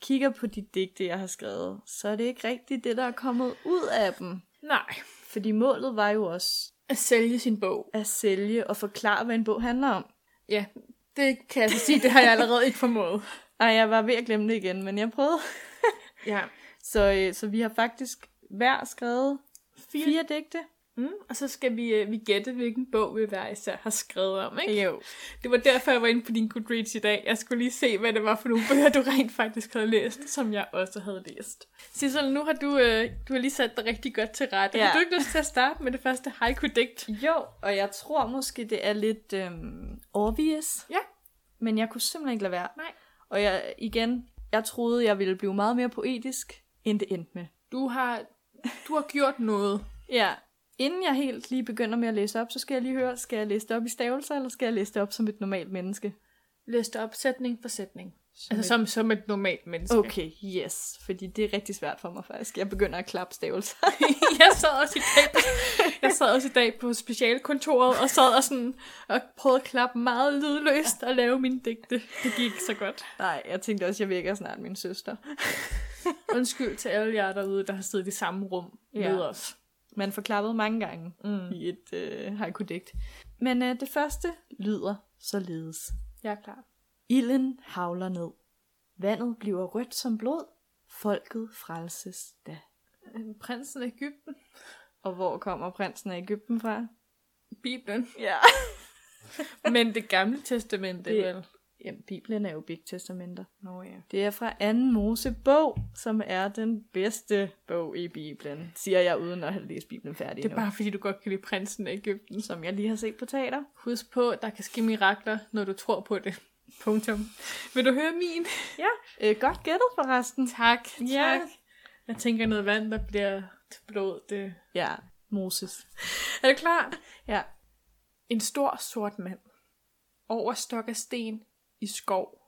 [SPEAKER 1] kigger på de digte, jeg har skrevet, så er det ikke rigtigt det, der er kommet ud af dem.
[SPEAKER 2] Nej.
[SPEAKER 1] Fordi målet var jo også
[SPEAKER 2] At sælge sin bog.
[SPEAKER 1] at sælge og forklare, hvad en bog handler om.
[SPEAKER 2] Ja, det kan jeg så sige, det har jeg allerede ikke formået.
[SPEAKER 1] Ej, jeg var ved at glemme det igen, men jeg prøvede.
[SPEAKER 2] Ja.
[SPEAKER 1] Så, øh, så vi har faktisk hver skrevet
[SPEAKER 2] Fire-
[SPEAKER 1] fire, fire digte.
[SPEAKER 2] Mm, og så skal vi, øh, vi gætte, hvilken bog vi hver især har skrevet om, ikke?
[SPEAKER 1] Jo.
[SPEAKER 2] Det var derfor, jeg var inde på din Goodreads i dag. Jeg skulle lige se, hvad det var for nogle bøger, du rent faktisk havde læst, som jeg også havde læst. Sissel, nu har du, øh, du har lige sat dig rigtig godt til rette. Ja.
[SPEAKER 1] Ja.
[SPEAKER 2] Har du ikke lyst til at starte med det første haiku-digt?
[SPEAKER 1] Jo, og jeg tror måske, det er lidt øhm, obvious,
[SPEAKER 2] Ja.
[SPEAKER 1] men jeg kunne simpelthen ikke lade være.
[SPEAKER 2] Nej.
[SPEAKER 1] Og jeg, igen, jeg troede, jeg ville blive meget mere poetisk, end det endte med.
[SPEAKER 2] Du har, du har gjort noget.
[SPEAKER 1] Ja. Inden jeg helt lige begynder med at læse op, så skal jeg lige høre, skal jeg læse det op i stavelser, eller skal jeg læse det op som et normalt menneske?
[SPEAKER 2] Læste op sætning for sætning. Som
[SPEAKER 1] et-
[SPEAKER 2] altså som, som et normalt menneske.
[SPEAKER 1] Okay, yes. Fordi det er rigtig svært for mig faktisk. Jeg begynder at klappe stavelser.
[SPEAKER 2] jeg sad også i dag, jeg sad også i dag på specialkontoret og sad og, sådan, og prøvede at klappe meget lydløst og lave mine digte. Det gik ikke så godt.
[SPEAKER 1] Nej, jeg tænkte også, jeg vækker snart min søster.
[SPEAKER 2] Undskyld til alle jer derude, der har siddet i samme rum ja.
[SPEAKER 1] Ja.
[SPEAKER 2] med os.
[SPEAKER 1] Man får klappet mange gange mm. i et øh, haiku-digt. Men øh, det første lyder således.
[SPEAKER 2] Jeg er klar.
[SPEAKER 1] Ilden havler ned. Vandet bliver rødt som blod. Folket frelses da.
[SPEAKER 2] Øhm, Prinsen af Ægypten.
[SPEAKER 1] Og hvor kommer prinsen af Ægypten fra?
[SPEAKER 2] Bibelen.
[SPEAKER 1] Ja.
[SPEAKER 2] Men det gamle testamente, det.
[SPEAKER 1] Det-
[SPEAKER 2] vel?
[SPEAKER 1] Jamen, Bibelen er jo begge testamenter.
[SPEAKER 2] Nå ja.
[SPEAKER 1] Det er fra anden Mosebog, som er den bedste bog i Bibelen, siger jeg uden at have læst Bibelen færdig
[SPEAKER 2] Det er
[SPEAKER 1] endnu.
[SPEAKER 2] bare fordi, du godt kan lide prinsen af Ægypten.
[SPEAKER 1] Som jeg lige har set på teater.
[SPEAKER 2] Husk på, der kan ske mirakler, når du tror på det. Punktum. Vil du høre min?
[SPEAKER 1] Ja, øh, godt gættet forresten.
[SPEAKER 2] Tak.
[SPEAKER 1] Ja.
[SPEAKER 2] Tak. Jeg tænker noget vand, der bliver til blod. Det...
[SPEAKER 1] Ja, Moses.
[SPEAKER 2] Er du klar?
[SPEAKER 1] Ja,
[SPEAKER 2] En stor sort mand. Over stok af sten i skov.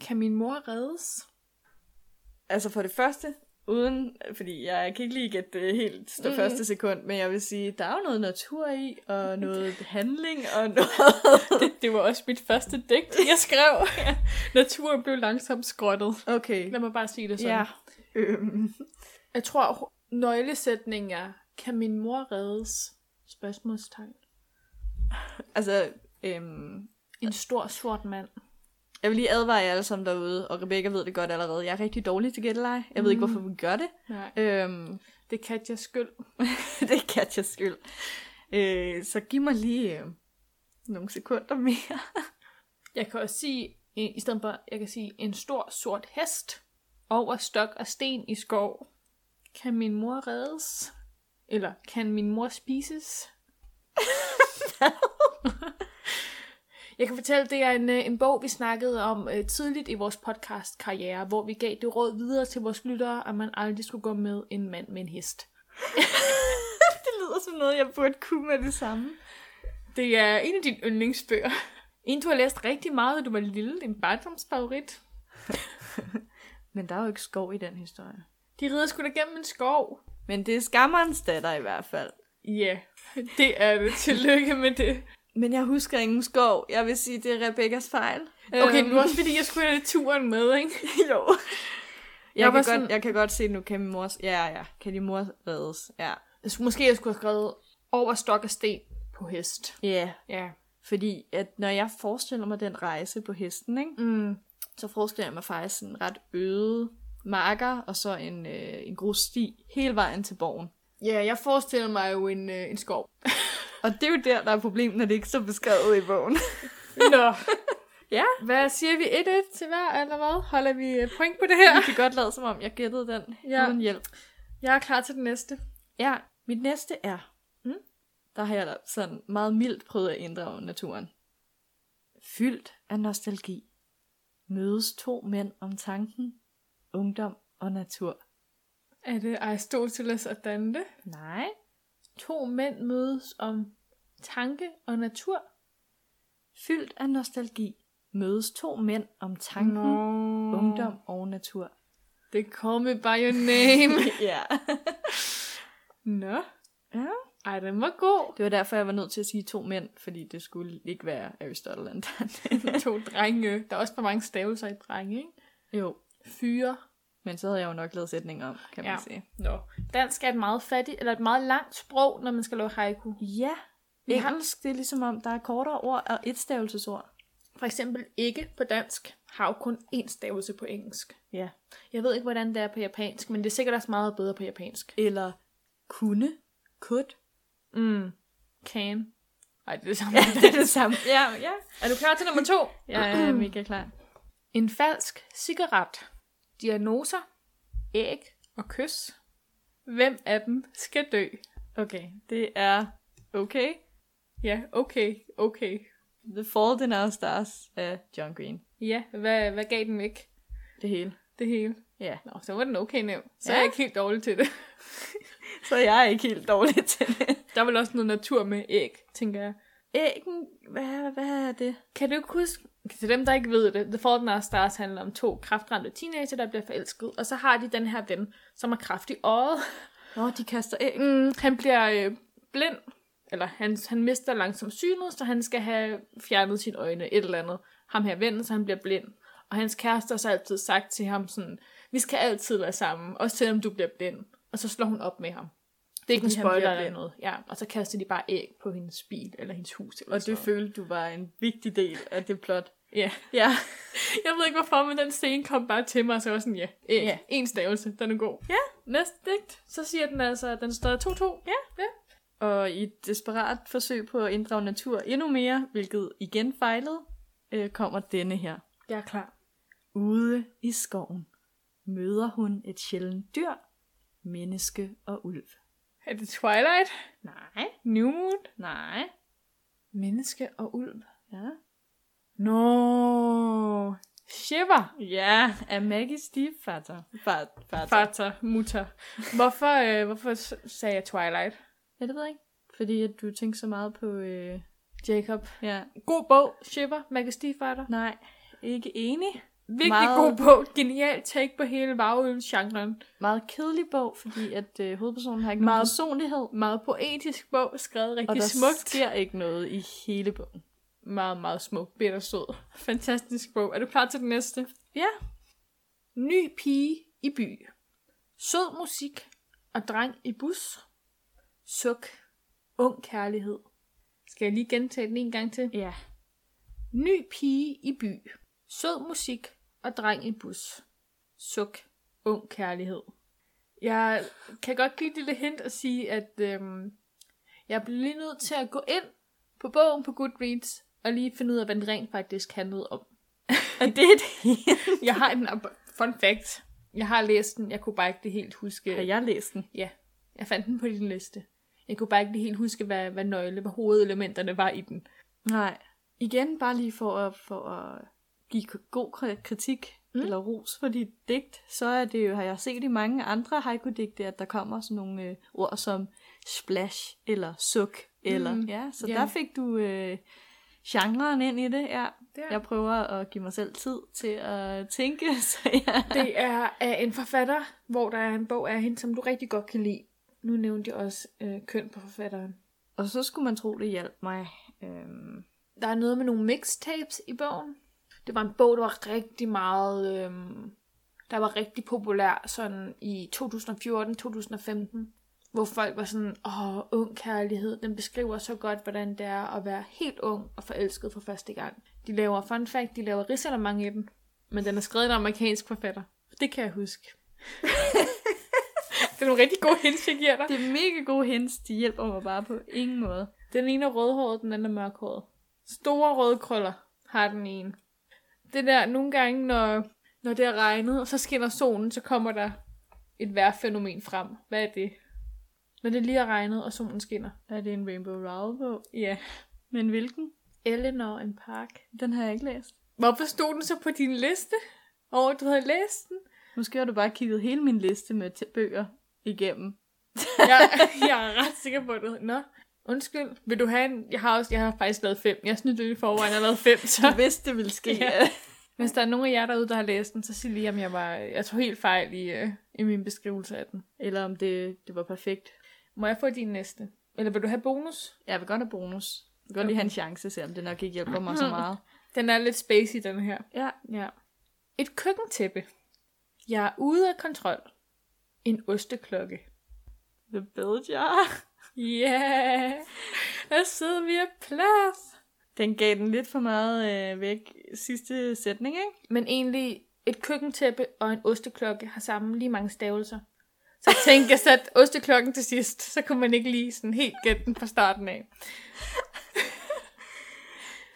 [SPEAKER 2] Kan min mor reddes?
[SPEAKER 1] Altså for det første, uden, fordi jeg kan ikke lige gætte det helt det mm. første sekund, men jeg vil sige, der er jo noget natur i, og noget handling, og noget...
[SPEAKER 2] Det, det var også mit første digt, jeg skrev. Naturen blev langsomt skrottet.
[SPEAKER 1] Okay,
[SPEAKER 2] Lad mig bare sige det sådan.
[SPEAKER 1] ja. Øhm.
[SPEAKER 2] Jeg tror, ho- nøglesætningen er, kan min mor reddes? Spørgsmålstegn.
[SPEAKER 1] Altså, øhm,
[SPEAKER 2] En stor sort mand.
[SPEAKER 1] jeg vil lige advare jer alle sammen derude, og Rebecca ved det godt allerede. Jeg er rigtig dårlig til gætteleje. Jeg ved ikke, hvorfor vi gør det.
[SPEAKER 2] Nej,
[SPEAKER 1] Øhm,
[SPEAKER 2] det kan jeg skyld.
[SPEAKER 1] det er Katjas skyld. Øh, så giv mig lige øh, nogle sekunder mere.
[SPEAKER 2] Jeg kan også sige, i i stedet for, jeg kan sige, en stor sort hest over stok og sten i skov. Kan min mor reddes? Eller kan min mor spises? jeg kan fortælle, det er en, øh, en bog, vi snakkede om øh, tidligt i vores podcast-karriere, hvor vi gav det råd videre til vores lyttere, at man aldrig skulle gå med en mand med en hest.
[SPEAKER 1] det lyder som noget, jeg burde kunne med det samme.
[SPEAKER 2] Det er en af dine yndlingsbøger. En, du har læst rigtig meget, da du var lille. En barndomsfavorit.
[SPEAKER 1] Men der er jo ikke skov i den historie.
[SPEAKER 2] De rider sgu da gennem en skov.
[SPEAKER 1] Men det er skammerens datter i hvert fald.
[SPEAKER 2] Ja, det er det. Tillykke med det.
[SPEAKER 1] Men jeg husker ingen skov. Jeg vil sige, det er Rebekkas fejl.
[SPEAKER 2] Okay,
[SPEAKER 1] Øhm,
[SPEAKER 2] det var også fordi, jeg skulle have turen med, ikke?
[SPEAKER 1] jo. Jeg,
[SPEAKER 2] Jeg
[SPEAKER 1] jeg,
[SPEAKER 2] var
[SPEAKER 1] kan
[SPEAKER 2] sådan-
[SPEAKER 1] godt, jeg kan godt se, nu kan min mor... Ja, ja. Kan din mor reddes? Ja.
[SPEAKER 2] Jeg skulle, måske jeg skulle have skrevet over stok og sten på hest.
[SPEAKER 1] Ja, yeah.
[SPEAKER 2] Ja.
[SPEAKER 1] fordi at når jeg forestiller mig den rejse på hesten, ikke,
[SPEAKER 2] Mm.
[SPEAKER 1] så forestiller jeg mig faktisk en ret øde marker, og så en, øh, en grussti hele vejen til borgen.
[SPEAKER 2] Ja, jeg forestiller mig jo en, øh, en skov.
[SPEAKER 1] Og det er jo der, der er problemet, når det ikke står beskrevet i bogen.
[SPEAKER 2] Nå.
[SPEAKER 1] ja,
[SPEAKER 2] Hvad siger vi? 1-1 til hver, eller hvad? Holder vi øh, point på det her?
[SPEAKER 1] jeg kan godt lade som om, jeg gættede den
[SPEAKER 2] Ja.
[SPEAKER 1] ja. uden hjælp.
[SPEAKER 2] Jeg er klar til den næste.
[SPEAKER 1] Ja, mit næste er, mm, der har jeg da sådan meget mildt prøvet at inddrage naturen. Fyldt af nostalgi, mødes to mænd om tanken, ungdom og natur.
[SPEAKER 2] Er det Aristoteles og Dante?
[SPEAKER 1] Nej.
[SPEAKER 2] To mænd mødes om tanke og natur.
[SPEAKER 1] Fyldt af nostalgi, mødes to mænd om tanken, no. ungdom og natur.
[SPEAKER 2] Mhm. Det kommer by your name.
[SPEAKER 1] ja.
[SPEAKER 2] Nå.
[SPEAKER 1] ja.
[SPEAKER 2] Ej, den var god.
[SPEAKER 1] Det var derfor, jeg var nødt til at sige to mænd, fordi det skulle ikke være Aristotle and Dante.
[SPEAKER 2] To drenge. Der er også for mange stavelser i drenge, ikke?
[SPEAKER 1] jo,
[SPEAKER 2] Fyre.
[SPEAKER 1] men så havde jeg jo nok lavet sætningen om, kan man
[SPEAKER 2] Ja.
[SPEAKER 1] sige.
[SPEAKER 2] Nå. Dansk er et meget fattigt, eller et meget langt sprog, når man skal lave haiku.
[SPEAKER 1] Ja,
[SPEAKER 2] Vi har-
[SPEAKER 1] engelsk, det er ligesom om, der er kortere ord og etstavelsesord.
[SPEAKER 2] For eksempel ikke på dansk har jo kun én stavelse på engelsk.
[SPEAKER 1] Ja.
[SPEAKER 2] Jeg ved ikke, hvordan det er på japansk, men det er sikkert også meget bedre på japansk.
[SPEAKER 1] Eller kunne, could.
[SPEAKER 2] Mm. Can. Ej, det er det samme.
[SPEAKER 1] det er det samme. Ja, ja.
[SPEAKER 2] er du klar til nummer to?
[SPEAKER 1] Jeg er mega klar.
[SPEAKER 2] En falsk cigaret. Diagnoser. Æg og kys. Hvem af dem skal dø?
[SPEAKER 1] Okay, det er okay.
[SPEAKER 2] Ja, okay, okay.
[SPEAKER 1] The Fault in Our Stars af John Green.
[SPEAKER 2] Ja, hvad, hvad gav den væk?
[SPEAKER 1] Det hele.
[SPEAKER 2] Det hele.
[SPEAKER 1] Ja.
[SPEAKER 2] Nå, så var den okay nem. Så ja.
[SPEAKER 1] Ja.
[SPEAKER 2] er jeg ikke helt dårlig til det.
[SPEAKER 1] Så jeg er ikke helt dårlig til det.
[SPEAKER 2] Der er vel også noget natur med æg, tænker jeg.
[SPEAKER 1] Æggen, hvad, hvad er det?
[SPEAKER 2] Kan du ikke huske, til dem der ikke ved det, The Fault in Our Stars handler om to kraftramte teenager, der bliver forelsket, og så har de den her ven, som er kraftig øjet.
[SPEAKER 1] Nå, de kaster æg.
[SPEAKER 2] Mm, han bliver øh, blind, eller han, han mister langsomt synet, så han skal have fjernet sine øjne, et eller andet. Ham her vennen, så han bliver blind. Og hans kæreste har så altid sagt til ham sådan, vi skal altid være sammen, også selvom du bliver blind. Og så slår hun op med ham. Det er ikke en
[SPEAKER 1] Fordi han bliver
[SPEAKER 2] spoiler eller
[SPEAKER 1] blind.
[SPEAKER 2] noget. Ja, og så kaster de bare æg på hendes bil eller hendes hus. Eller
[SPEAKER 1] Og
[SPEAKER 2] sådan
[SPEAKER 1] det
[SPEAKER 2] noget.
[SPEAKER 1] følte du var en vigtig del af det plot.
[SPEAKER 2] Ja.
[SPEAKER 1] Ja.
[SPEAKER 2] Jeg ved ikke hvorfor, men den scene kom bare til mig, og så var jeg sådan, ja, æg.
[SPEAKER 1] Ja.
[SPEAKER 2] En stavelse, den er god.
[SPEAKER 1] Ja.
[SPEAKER 2] Næste digt, så siger den altså, at den står 2-2. Ja. ja.
[SPEAKER 1] Og i et desperat forsøg på at inddrage natur endnu mere, hvilket igen fejlede, øh, kommer denne her.
[SPEAKER 2] Jeg er klar.
[SPEAKER 1] Ude i skoven møder hun et sjældent dyr, menneske og ulv.
[SPEAKER 2] Er det Twilight?
[SPEAKER 1] Nej,
[SPEAKER 2] New Moon?
[SPEAKER 1] nej.
[SPEAKER 2] Menneske og ulv.
[SPEAKER 1] Ja.
[SPEAKER 2] Nå. Shiver.
[SPEAKER 1] Ja, af Maggie Stiefvater. Fart, fart.
[SPEAKER 2] Fata, mutter. Hvorfor, øh, hvorfor s- sagde jeg Twilight?
[SPEAKER 1] Ja, det ved jeg ikke. Fordi at du tænkte så meget på... Øh,
[SPEAKER 2] Jacob.
[SPEAKER 1] ja.
[SPEAKER 2] God bog, Shiver, Majesty Fighter.
[SPEAKER 1] Nej, ikke enig.
[SPEAKER 2] Virkelig
[SPEAKER 1] Meget-
[SPEAKER 2] god bog. Genial take på hele varulvsgenren.
[SPEAKER 1] Meget kedelig bog, fordi at øh, hovedpersonen har ikke
[SPEAKER 2] Meget-
[SPEAKER 1] meget personlighed.
[SPEAKER 2] Meget poetisk bog, skrevet
[SPEAKER 1] Og
[SPEAKER 2] rigtig
[SPEAKER 1] der
[SPEAKER 2] smukt.
[SPEAKER 1] sker ikke noget i hele bogen.
[SPEAKER 2] Meget, meget smuk, bittersød. Fantastisk bog. Er du klar til den næste?
[SPEAKER 1] Ja.
[SPEAKER 2] Ny pige i by. Sød musik og dreng i bus. Suk. Ung kærlighed. Skal jeg lige gentage den en gang til?
[SPEAKER 1] Ja.
[SPEAKER 2] Ny pige i by. Sød musik og dreng i bus. Suk. Ung kærlighed. Jeg kan godt give et lille hint og sige, at øhm, jeg blev lige nødt til at gå ind på bogen på Goodreads og lige finde ud af, hvad den rent faktisk handlede om.
[SPEAKER 1] Og det er det.
[SPEAKER 2] Jeg har en ab- fun fact. Jeg har læst den, jeg kunne bare ikke det helt huske.
[SPEAKER 1] Har jeg læst den?
[SPEAKER 2] Ja, jeg fandt den på din liste. Jeg kunne bare ikke lige helt huske, hvad, hvad nøgle, hvad hovedelementerne var i den.
[SPEAKER 1] Nej. Igen, bare lige for at, for at give k- god kri- kritik mm. eller ros for dit digt, så er det jo, har jeg set i mange andre haiku-digte, at der kommer sådan nogle øh, ord som splash eller suk. Eller,
[SPEAKER 2] Mm.
[SPEAKER 1] mm. Ja, så
[SPEAKER 2] Ja.
[SPEAKER 1] der fik du øh, genren ind i det. Ja.
[SPEAKER 2] Det er-
[SPEAKER 1] Jeg prøver at give mig selv tid til at tænke, så ja.
[SPEAKER 2] Det er af en forfatter, hvor der er en bog af hende, som du rigtig godt kan lide. Nu nævnte jeg også øh, køn på forfatteren.
[SPEAKER 1] Og så skulle man tro, det hjalp mig. Øhm,
[SPEAKER 2] Der er noget med nogle mixtapes i bogen. Det var en bog, der var rigtig meget... Øh, der var rigtig populær sådan i 2014-2015. hvor folk var sådan, åh, ung kærlighed, den beskriver så godt, hvordan det er at være helt ung og forelsket for første gang. De laver, fun fact, de laver risaler mange af dem, men den er skrevet af en amerikansk forfatter. Det kan jeg huske. det er nogle rigtig gode hints, jeg giver dig.
[SPEAKER 1] Det er mega gode hints, de hjælper mig bare på ingen måde.
[SPEAKER 2] Den ene er rødhåret, den anden er mørkhåret. Store røde krøller har den ene. Det der, nogle gange, når, når det har regnet, og så skinner solen, så kommer der et vejrfænomen frem. Hvad er det? Når det lige har regnet, og solen skinner.
[SPEAKER 1] Er det en Rainbow Rowell bog?
[SPEAKER 2] Ja.
[SPEAKER 1] Men hvilken?
[SPEAKER 2] Eleanor en Park.
[SPEAKER 1] Den har jeg ikke læst.
[SPEAKER 2] Hvorfor stod den så på din liste? Over, du havde læst den?
[SPEAKER 1] Måske har du bare kigget hele min liste med t- bøger igennem.
[SPEAKER 2] Jeg, jeg er ret sikker på det. Nå, undskyld. Vil du have en? Jeg har, også, jeg har faktisk lavet fem. Jeg snydte lidt i forvejen og lavet fem, så...
[SPEAKER 1] Du vidste, det ville ske.
[SPEAKER 2] Ja. Hvis der er nogen af jer derude, der har læst den, så sig lige, om jeg, var, jeg tog helt fejl i, øh, i min beskrivelse af den.
[SPEAKER 1] Eller om det, det var perfekt.
[SPEAKER 2] Må jeg få din næste? Eller vil du have bonus?
[SPEAKER 1] Jeg vil godt have bonus. Jeg vil godt lige have en chance, selvom det nok ikke hjælper mig så meget.
[SPEAKER 2] Den er lidt spacey, den her.
[SPEAKER 1] Ja,
[SPEAKER 2] Ja. Et køkkentæppe. Jeg er ude af kontrol. En osteklokke.
[SPEAKER 1] the bell jar.
[SPEAKER 2] Ja, yeah. der sidder vi af plads.
[SPEAKER 1] Den gav den lidt for meget øh, væk sidste sætning, ikke?
[SPEAKER 2] Men egentlig, et køkkentæppe og en osteklokke har sammen lige mange stavelser. Så tænkte jeg sat osteklokken til sidst, så kunne man ikke lige sådan helt gætte den fra starten af.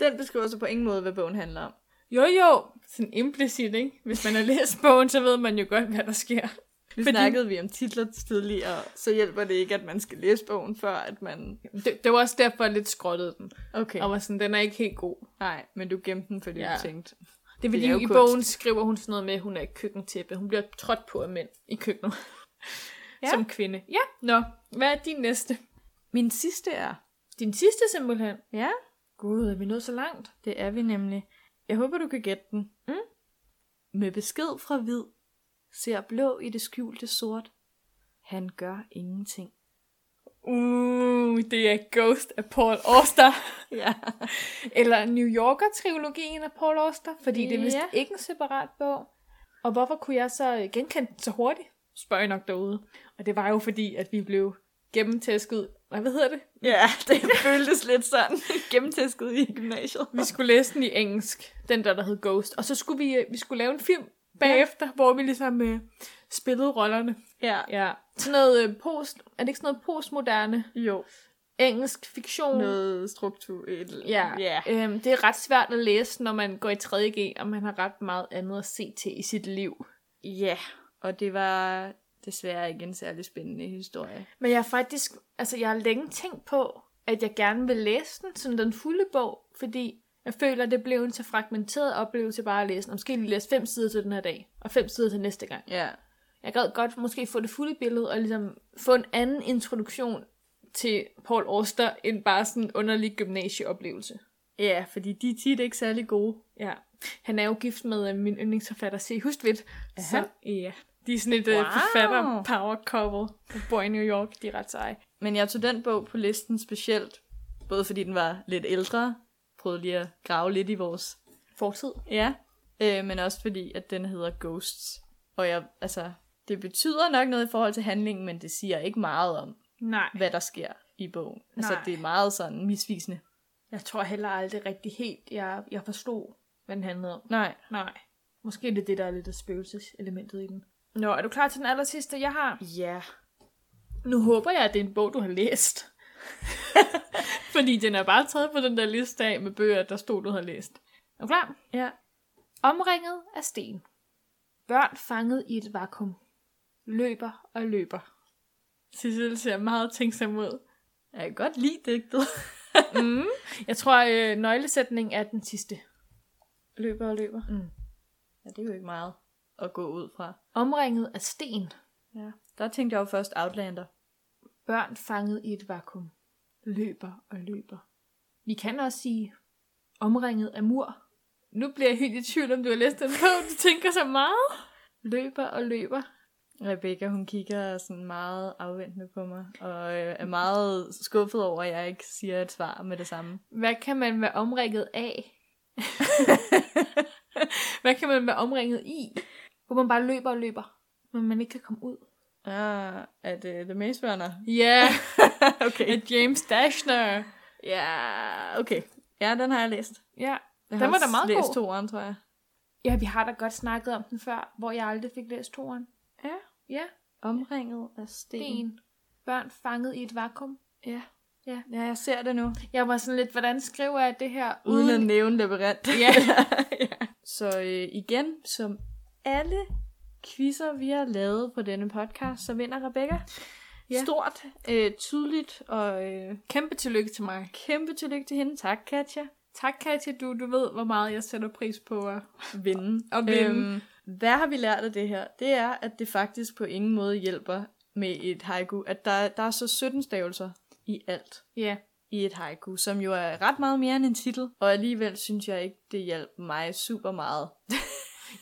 [SPEAKER 1] Den beskriver så på ingen måde, hvad bogen handler om.
[SPEAKER 2] Jo jo, sådan implicit, ikke? Hvis man har læst bogen, så ved man jo godt, hvad der sker.
[SPEAKER 1] Nu Fordi...
[SPEAKER 2] Fordi-
[SPEAKER 1] snakkede vi om titler tidligere, så hjælper det ikke, at man skal læse bogen, før at man...
[SPEAKER 2] Det, det var også derfor, jeg lidt skrottede den.
[SPEAKER 1] Okay.
[SPEAKER 2] Og var sådan, den er ikke helt god.
[SPEAKER 1] Nej, men du gemte den, fordi ja.
[SPEAKER 2] Ja.
[SPEAKER 1] du tænkte...
[SPEAKER 2] Det er fordi,
[SPEAKER 1] Det er jo
[SPEAKER 2] i
[SPEAKER 1] kunst.
[SPEAKER 2] bogen skriver hun sådan noget med, at hun er et køkkentæppe. Hun bliver trådt på af mænd i køkkenet.
[SPEAKER 1] Ja.
[SPEAKER 2] Ja. Som kvinde. Ja. Nå, hvad er din næste?
[SPEAKER 1] Min sidste er...
[SPEAKER 2] Din sidste simpelthen.
[SPEAKER 1] Ja,
[SPEAKER 2] Gud, er vi nået så langt?
[SPEAKER 1] det er vi nemlig. Jeg håber, du kan gætte den.
[SPEAKER 2] Mm.
[SPEAKER 1] Med besked fra hvid, ser blå i det skjulte sort. Han gør ingenting.
[SPEAKER 2] Uh, det er Ghost af Paul Auster.
[SPEAKER 1] Ja.
[SPEAKER 2] Eller New Yorker-trilogien af Paul Auster. Fordi det er vist
[SPEAKER 1] Ja.
[SPEAKER 2] ikke en separat bog. Og hvorfor kunne jeg så øh, genkende den så hurtigt? Spørger jeg nok derude. Og det var jo fordi, at vi blev gennemtæsket. Nej, hvad hedder det?
[SPEAKER 1] Ja, det føltes lidt sådan gennemtæsket i gymnasiet.
[SPEAKER 2] Vi skulle læse den i engelsk, den der, der hed Ghost. Og så skulle vi, øh, vi skulle lave en film bagefter, ja. hvor vi ligesom øh, spillede rollerne.
[SPEAKER 1] Ja.
[SPEAKER 2] Ja. Sådan noget øh, post... Er det ikke sådan noget postmoderne
[SPEAKER 1] Jo.
[SPEAKER 2] engelsk fiktion?
[SPEAKER 1] Noget struktur. Et...
[SPEAKER 2] Ja.
[SPEAKER 1] ja.
[SPEAKER 2] Øhm, det er ret svært at læse, når man går i 3.G, og man har ret meget andet at se til i sit liv.
[SPEAKER 1] Ja. Og det var desværre ikke en særlig spændende historie.
[SPEAKER 2] Men jeg har faktisk... Altså, jeg har længe tænkt på, at jeg gerne vil læse den, sådan den fulde bog, fordi jeg føler, at det blev en så fragmenteret oplevelse bare at læse den. Og Måske lige læse fem sider til den her dag, og fem sider til næste gang.
[SPEAKER 1] Ja.
[SPEAKER 2] Jeg gad godt måske få det fulde billede, og ligesom få en anden introduktion til Paul Auster, end bare sådan en underlig gymnasieoplevelse.
[SPEAKER 1] Ja, fordi de er tit ikke særlig gode.
[SPEAKER 2] Ja. Han er jo gift med øh, min yndlingsforfatter, C. Hustvedt.
[SPEAKER 1] Aha.
[SPEAKER 2] Så, ja. De er sådan et wow.
[SPEAKER 1] Wow.
[SPEAKER 2] forfatter power couple. De bor i New York, de er ret seje.
[SPEAKER 1] Men jeg tog den bog på listen specielt, både fordi den var lidt ældre, prøvede lige at grave lidt i vores,
[SPEAKER 2] Fortid.
[SPEAKER 1] ja, øh, men også fordi, at den hedder Ghosts. Og jeg, altså, det betyder nok noget i forhold til handlingen, men det siger ikke meget om,
[SPEAKER 2] Nej.
[SPEAKER 1] hvad der sker i bogen. Altså,
[SPEAKER 2] Nej.
[SPEAKER 1] det er meget sådan misvisende.
[SPEAKER 2] Jeg tror heller aldrig rigtig helt, jeg, jeg forstod, hvad den handlede om.
[SPEAKER 1] Nej.
[SPEAKER 2] Nej. Måske er det det, der er lidt af spøgelseselementet i den. Nå, er du klar til den aller sidste, jeg har?
[SPEAKER 1] Ja.
[SPEAKER 2] Nu håber jeg, at det er en bog, du har læst. Fordi den er bare taget på den der liste af med bøger, der stod, du har læst. Er du klar?
[SPEAKER 1] Ja.
[SPEAKER 2] Omringet af sten. Børn fanget i et vakuum. Løber og løber. Sissel ser meget tænksom ud.
[SPEAKER 1] Jeg kan godt lide digtet.
[SPEAKER 2] Mm. Jeg tror, øh, nøglesætningen er den sidste. Løber og løber. Mm.
[SPEAKER 1] ja, det er jo ikke meget at gå ud fra.
[SPEAKER 2] Omringet af sten.
[SPEAKER 1] Ja. Der tænkte jeg jo først Outlander.
[SPEAKER 2] Børn fanget i et vakuum. Løber og løber. Vi kan også sige, omringet af mur. Nu bliver jeg helt i tvivl, om du har læst den bog. Du tænker så meget. Løber og løber.
[SPEAKER 1] Rebecca, hun kigger sådan meget afventende på mig, og øh, er meget skuffet over, at jeg ikke siger et svar med det samme.
[SPEAKER 2] Hvad kan man være omringet af? Hvad kan man være omringet i? Hvor man bare løber og løber, men man ikke kan komme ud.
[SPEAKER 1] Ah, er det The Maze Runner?
[SPEAKER 2] Ja,
[SPEAKER 1] okay.
[SPEAKER 2] af James Dashner.
[SPEAKER 1] Ja, okay. Ja, den har jeg læst.
[SPEAKER 2] Ja,
[SPEAKER 1] Jeg
[SPEAKER 2] Den
[SPEAKER 1] har
[SPEAKER 2] var da
[SPEAKER 1] også
[SPEAKER 2] meget
[SPEAKER 1] læst
[SPEAKER 2] god.
[SPEAKER 1] toeren, tror jeg.
[SPEAKER 2] ja, vi har da godt snakket om den før, hvor jeg aldrig fik læst toren.
[SPEAKER 1] Ja.
[SPEAKER 2] Ja,
[SPEAKER 1] Omringet af sten.
[SPEAKER 2] en. Børn fanget i et vakuum.
[SPEAKER 1] Ja.
[SPEAKER 2] Ja.
[SPEAKER 1] ja, jeg ser det nu.
[SPEAKER 2] Jeg var sådan lidt, hvordan skriver jeg det her
[SPEAKER 1] Uden at nævne labyrint.
[SPEAKER 2] Ja.
[SPEAKER 1] Så øh, igen, som alle quizzer, vi har lavet på denne podcast, så vinder Rebecca.
[SPEAKER 2] Ja.
[SPEAKER 1] Stort, øh, tydeligt og øh,
[SPEAKER 2] Kæmpe tillykke til mig.
[SPEAKER 1] kæmpe tillykke til hende. Tak, Katja.
[SPEAKER 2] Tak, Katja. Du, du ved, hvor meget jeg sætter pris på. øh.
[SPEAKER 1] Vinde. Øhm,
[SPEAKER 2] Og vinde.
[SPEAKER 1] hvad har vi lært af det her? Det er, at det faktisk på ingen måde hjælper med et haiku. At der, der er så 17 stavelser i alt
[SPEAKER 2] Ja.
[SPEAKER 1] i et haiku, som jo er ret meget mere end en titel. Og alligevel synes jeg ikke, det hjalp mig super meget.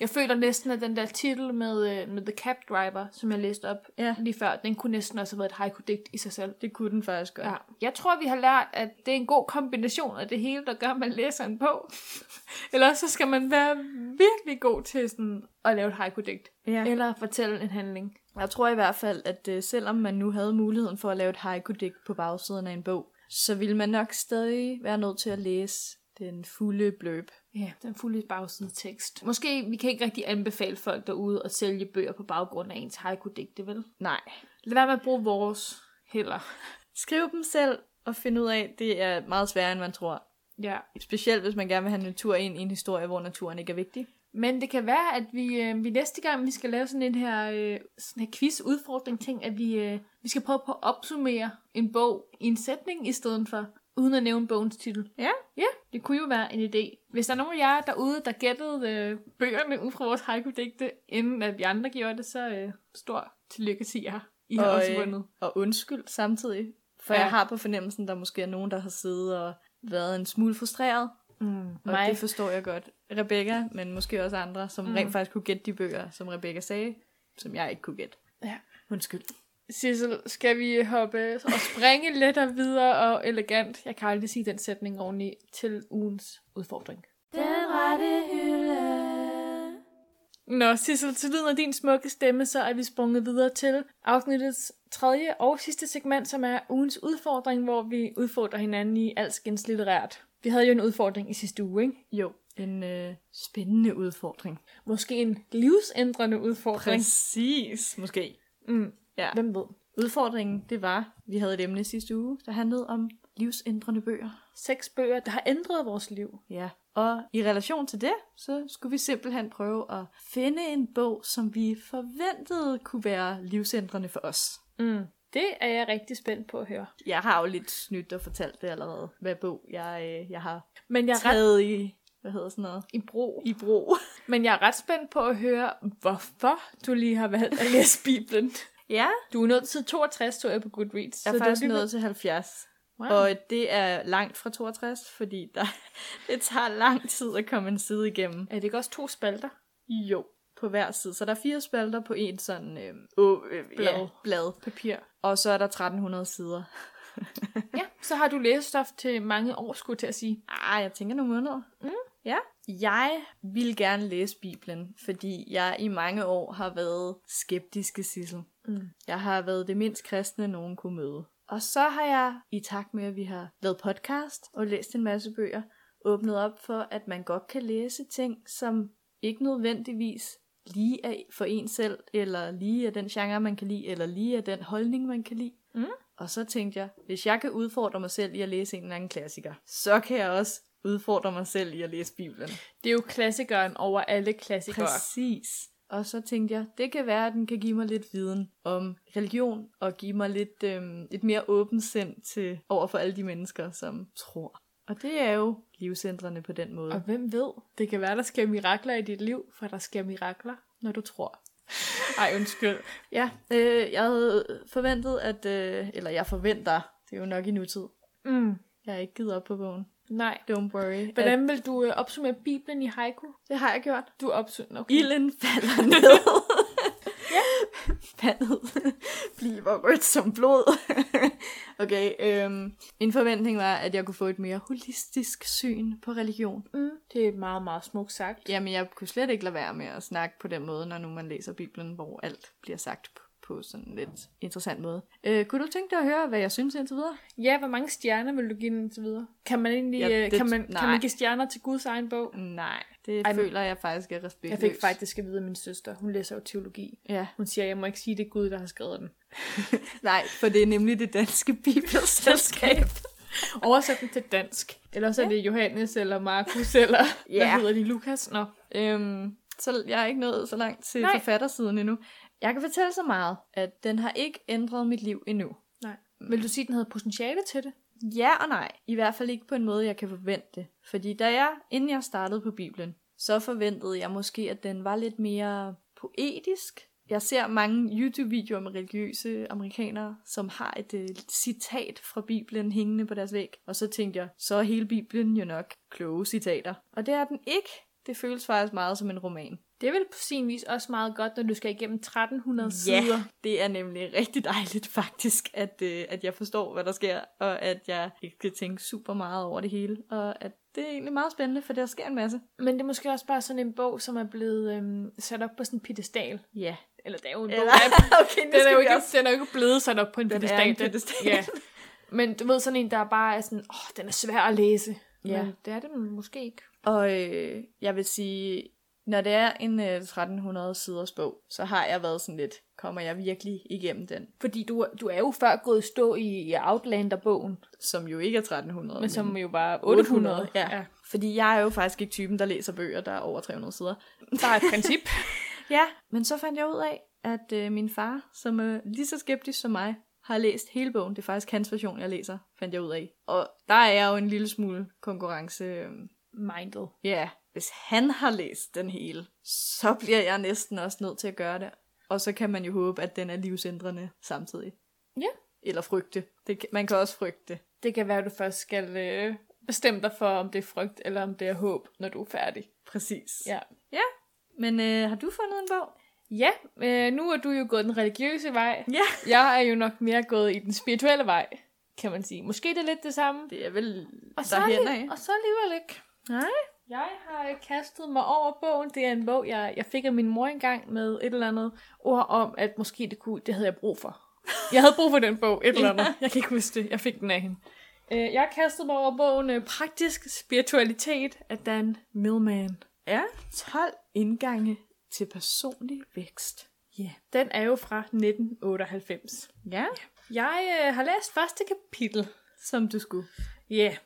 [SPEAKER 2] Jeg føler næsten, at den der titel med, øh, med The Cab Driver, som jeg læste op
[SPEAKER 1] Ja.
[SPEAKER 2] lige før, den kunne næsten også have været et haiku-digt i sig selv.
[SPEAKER 1] Det kunne den faktisk godt.
[SPEAKER 2] Ja. Jeg tror, vi har lært, at det er en god kombination af det hele, der gør, at man læser en bog. Eller så skal man være virkelig god til sådan at lave et haiku-digt.
[SPEAKER 1] Ja.
[SPEAKER 2] Eller fortælle en handling.
[SPEAKER 1] Jeg tror i hvert fald, at øh, selvom man nu havde muligheden for at lave et haiku-digt på bagsiden af en bog, så ville man nok stadig være nødt til at læse den fulde bløb.
[SPEAKER 2] Ja, den fulde bagside tekst. Måske vi kan ikke rigtig anbefale folk derude at sælge bøger på baggrund af ens haiku-digte, vel?
[SPEAKER 1] Nej.
[SPEAKER 2] Lad være med at bruge vores heller.
[SPEAKER 1] Skriv dem selv og find ud af, det er meget sværere, end man tror.
[SPEAKER 2] Ja.
[SPEAKER 1] Specielt hvis man gerne vil have natur ind i en historie, hvor naturen ikke er vigtig.
[SPEAKER 2] Men det kan være, at vi, øh, vi næste gang, vi skal lave sådan en her, øh, sådan her quiz-udfordring-ting, at vi, øh, vi skal prøve på at opsummere en bog i en sætning i stedet for, uden at nævne bogens titel.
[SPEAKER 1] Ja.
[SPEAKER 2] Ja, det kunne jo være en idé. Hvis der er nogen af jer derude, der gættede øh, bøgerne ud fra vores haiku-digte, inden at vi andre gjorde det, så øh, stor tillykke til jer. I har
[SPEAKER 1] Og,
[SPEAKER 2] også
[SPEAKER 1] øh,
[SPEAKER 2] vundet.
[SPEAKER 1] Og undskyld samtidig. For
[SPEAKER 2] Ja.
[SPEAKER 1] ja. jeg har på fornemmelsen, der måske er nogen, der har siddet og været en smule frustreret.
[SPEAKER 2] Mm,
[SPEAKER 1] Og det forstår jeg godt. Rebecca, men måske også andre, som mm. rent faktisk kunne gætte de bøger, som Rebecca sagde, som jeg ikke kunne gætte.
[SPEAKER 2] Ja.
[SPEAKER 1] Undskyld.
[SPEAKER 2] Sissel, skal vi hoppe og springe lidt og videre og elegant? Jeg kan aldrig sige den sætning ordentligt til ugens udfordring.
[SPEAKER 1] Den rette hylde.
[SPEAKER 2] Nå, Sissel, til lyden af din smukke stemme, så er vi sprunget videre til afsnittets tredje og sidste segment, som er ugens udfordring, hvor vi udfordrer hinanden i alskens litterært. Vi havde jo en udfordring i sidste uge, ikke?
[SPEAKER 1] Jo, en øh, spændende udfordring.
[SPEAKER 2] Måske en livsændrende udfordring.
[SPEAKER 1] Præcis, måske.
[SPEAKER 2] Mm,
[SPEAKER 1] Ja.
[SPEAKER 2] hvem ved?
[SPEAKER 1] Udfordringen, det var, vi havde et emne sidste uge, der handlede om livsændrende bøger.
[SPEAKER 2] Seks bøger, der har ændret vores liv.
[SPEAKER 1] Ja. Og i relation til det, så skulle vi simpelthen prøve at finde en bog, som vi forventede kunne være livsændrende for os.
[SPEAKER 2] Mm. Det er jeg rigtig spændt på at høre.
[SPEAKER 1] Jeg har jo lidt snydt og fortalt det allerede, hvad bog jeg, øh, jeg har
[SPEAKER 2] Men jeg er ret
[SPEAKER 1] taget i, hvad hedder sådan noget,
[SPEAKER 2] i brug.
[SPEAKER 1] i brug.
[SPEAKER 2] Men jeg er ret spændt på at høre, hvorfor du lige har valgt at læse Bibelen.
[SPEAKER 1] Ja,
[SPEAKER 2] Du er nået til 62, så jeg på Goodreads.
[SPEAKER 1] jeg
[SPEAKER 2] så
[SPEAKER 1] er
[SPEAKER 2] du
[SPEAKER 1] faktisk
[SPEAKER 2] lige-
[SPEAKER 1] nået til 70.
[SPEAKER 2] Wow.
[SPEAKER 1] Og det er langt fra 62, fordi der, det tager lang tid at komme en side igennem.
[SPEAKER 2] Er det ikke også to spalter?
[SPEAKER 1] Jo, på hver side. Så der er fire spalter på en sådan øh, å, øh, blad.
[SPEAKER 2] Blad.
[SPEAKER 1] Ja, blad.
[SPEAKER 2] Papir.
[SPEAKER 1] Og så er der 1300 sider.
[SPEAKER 2] Ja, så har du læsestof til mange år, skulle jeg til at sige.
[SPEAKER 1] Ah, jeg tænker nogle måneder. Mm. Ja. Jeg vil gerne læse Bibelen, fordi jeg i mange år har været skeptiske Sissel.
[SPEAKER 2] Mm.
[SPEAKER 1] Jeg har været det mindst kristne, nogen kunne møde. Og så har jeg, i takt med at vi har lavet podcast og læst en masse bøger, åbnet op for, at man godt kan læse ting, som ikke nødvendigvis lige er for en selv, eller lige er den genre, man kan lide, eller lige er den holdning, man kan lide.
[SPEAKER 2] Mm.
[SPEAKER 1] Og så tænkte jeg, hvis jeg kan udfordre mig selv i at læse en eller anden klassiker, så kan jeg også udfordre mig selv i at læse Bibelen.
[SPEAKER 2] Det er jo klassikeren over alle klassikere.
[SPEAKER 1] Præcis. Og så tænkte jeg, det kan være, at den kan give mig lidt viden om religion, og give mig lidt, øhm, et mere åbent sind til, over for alle de mennesker, som tror. Og det er jo livscentrene på den måde.
[SPEAKER 2] Og hvem ved? Det kan være, der sker mirakler i dit liv, for der sker mirakler, når du tror. Ej, undskyld.
[SPEAKER 1] Ja, øh, jeg havde forventet, at, øh, eller jeg forventer, det er jo nok i nutid.
[SPEAKER 2] Mm.
[SPEAKER 1] Jeg har ikke givet op på bogen.
[SPEAKER 2] Nej.
[SPEAKER 1] Don't worry. At,
[SPEAKER 2] Hvordan vil du øh, opsummere Bibelen i haiku?
[SPEAKER 1] det har jeg gjort.
[SPEAKER 2] Du opsummerer... Okay.
[SPEAKER 1] Ilden falder ned. Vandet bliver rødt som blod. okay, øhm, min forventning var, at jeg kunne få et mere holistisk syn på religion.
[SPEAKER 2] Mm. Det er meget, meget smukt sagt.
[SPEAKER 1] Jamen, jeg kunne slet ikke lade være med at snakke på den måde, når nu man læser Bibelen, hvor alt bliver sagt p- på på sådan en lidt interessant måde. Øh, kunne du tænke dig at høre, hvad jeg synes indtil videre?
[SPEAKER 2] Ja, hvor mange stjerner vil du give den til videre? Kan man egentlig
[SPEAKER 1] Ja,
[SPEAKER 2] ja,
[SPEAKER 1] det-
[SPEAKER 2] kan, man, kan
[SPEAKER 1] nej. Mm,
[SPEAKER 2] man give stjerner til Guds egen bog?
[SPEAKER 1] Nej, det
[SPEAKER 2] Ej,
[SPEAKER 1] Ej,
[SPEAKER 2] men-
[SPEAKER 1] føler jeg faktisk er
[SPEAKER 2] Jeg
[SPEAKER 1] respektløst.
[SPEAKER 2] fik faktisk at vide af min søster. Hun læser jo teologi.
[SPEAKER 1] Ja,
[SPEAKER 2] Hun siger, jeg må ikke sige, det er Gud, der har skrevet den.
[SPEAKER 1] nej, for det er nemlig det danske bibelselskab.
[SPEAKER 2] Oversat den til dansk. Eller også er det Johannes eller Markus eller...
[SPEAKER 1] Ja.
[SPEAKER 2] Hvad hedder de? Lukas? Nå.
[SPEAKER 1] Øhm, så jeg er ikke nået så langt til Nej.
[SPEAKER 2] Nej.
[SPEAKER 1] forfattersiden endnu. Jeg kan fortælle så meget, at den har ikke ændret mit liv endnu.
[SPEAKER 2] Nej. Vil du sige, at den havde potentiale til det?
[SPEAKER 1] Ja og nej. I hvert fald ikke på en måde, jeg kan forvente det. Fordi da jeg, inden jeg startede på Bibelen, så forventede jeg måske, at den var lidt mere poetisk. Jeg ser mange YouTube-videoer med religiøse amerikanere, som har et øh, citat fra Bibelen hængende på deres væg. Og så tænkte jeg, så er hele Bibelen jo nok kloge citater. Og det er den ikke. Det føles faktisk meget som en roman.
[SPEAKER 2] Det er vel på sin vis også meget godt, når du skal igennem 1300 sider.
[SPEAKER 1] Ja, det er nemlig rigtig dejligt faktisk, at, øh, at jeg forstår, hvad der sker, og at jeg ikke skal tænke super meget over det hele, og at det er egentlig meget spændende, for der sker en masse.
[SPEAKER 2] Men det er måske også bare sådan en bog, som er blevet øhm, sat op på sådan en pedestal.
[SPEAKER 1] Ja.
[SPEAKER 2] Eller det er jo en
[SPEAKER 1] Eller,
[SPEAKER 2] bog, der er
[SPEAKER 1] okay, nu
[SPEAKER 2] den er,
[SPEAKER 1] skal
[SPEAKER 2] jo
[SPEAKER 1] vi
[SPEAKER 2] ikke,
[SPEAKER 1] også...
[SPEAKER 2] den er jo ikke blevet sat op på en
[SPEAKER 1] Den er
[SPEAKER 2] pedestal.
[SPEAKER 1] en pedestal.
[SPEAKER 2] Ja. Men du ved, sådan en, der bare er sådan, åh, oh, den er svær at læse.
[SPEAKER 1] Ja.
[SPEAKER 2] Men det er den måske ikke.
[SPEAKER 1] Og øh, jeg vil sige, når det er en øh, 1300 siders bog, så har jeg været sådan lidt, kommer jeg virkelig igennem den,
[SPEAKER 2] Fordi du, du er jo før gået i stå i, i Outlander-bogen,
[SPEAKER 1] som jo ikke er 1300.
[SPEAKER 2] men som jo var 800.
[SPEAKER 1] 800, ja. ja. Fordi jeg er jo faktisk ikke typen, der læser bøger, der er over 300 sider.
[SPEAKER 2] Bare et princip.
[SPEAKER 1] Ja, men så fandt jeg ud af, at øh, min far, som er øh, lige så skeptisk som mig, har læst hele bogen. Det er faktisk hans version, jeg læser, fandt jeg ud af. Og der er jeg jo en lille smule konkurrence. øh,
[SPEAKER 2] Minded.
[SPEAKER 1] Ja, øh, yeah. hvis han har læst den hele, så bliver jeg næsten også nødt til at gøre det. Og så kan man jo håbe, at den er livsændrende samtidig.
[SPEAKER 2] Ja.
[SPEAKER 1] Eller frygte. Det, kan- man kan også frygte det.
[SPEAKER 2] Det kan være, at du først skal øh, bestemme dig for, om det er frygt eller om det er håb, når du er færdig.
[SPEAKER 1] Præcis.
[SPEAKER 2] Ja.
[SPEAKER 1] ja. Men øh, har du fundet en bog?
[SPEAKER 2] Ja, øh, nu er du jo gået den religiøse vej.
[SPEAKER 1] Ja.
[SPEAKER 2] Jeg er jo nok mere gået i den spirituelle vej, kan man sige. Måske det er lidt det samme.
[SPEAKER 1] Det er vel
[SPEAKER 2] Og så,
[SPEAKER 1] derhen
[SPEAKER 2] alli-
[SPEAKER 1] af.
[SPEAKER 2] og så alligevel ikke.
[SPEAKER 1] Nej.
[SPEAKER 2] Jeg har øh, kastet mig over bogen. Det er en bog, jeg, jeg fik af min mor engang med et eller andet ord om, at måske det kunne, det havde jeg brug for. Jeg havde brug for den bog, et eller andet. Jeg kan ikke huske det. Jeg fik den af hende. Øh, Jeg kastede mig over bogen øh, Praktisk Spiritualitet af Dan Millman.
[SPEAKER 1] Ja. 12 indgange til personlig vækst.
[SPEAKER 2] Ja, yeah. den er jo fra 1998.
[SPEAKER 1] Ja.
[SPEAKER 2] Jeg øh, har læst første kapitel.
[SPEAKER 1] Som du skulle.
[SPEAKER 2] Ja. Yeah.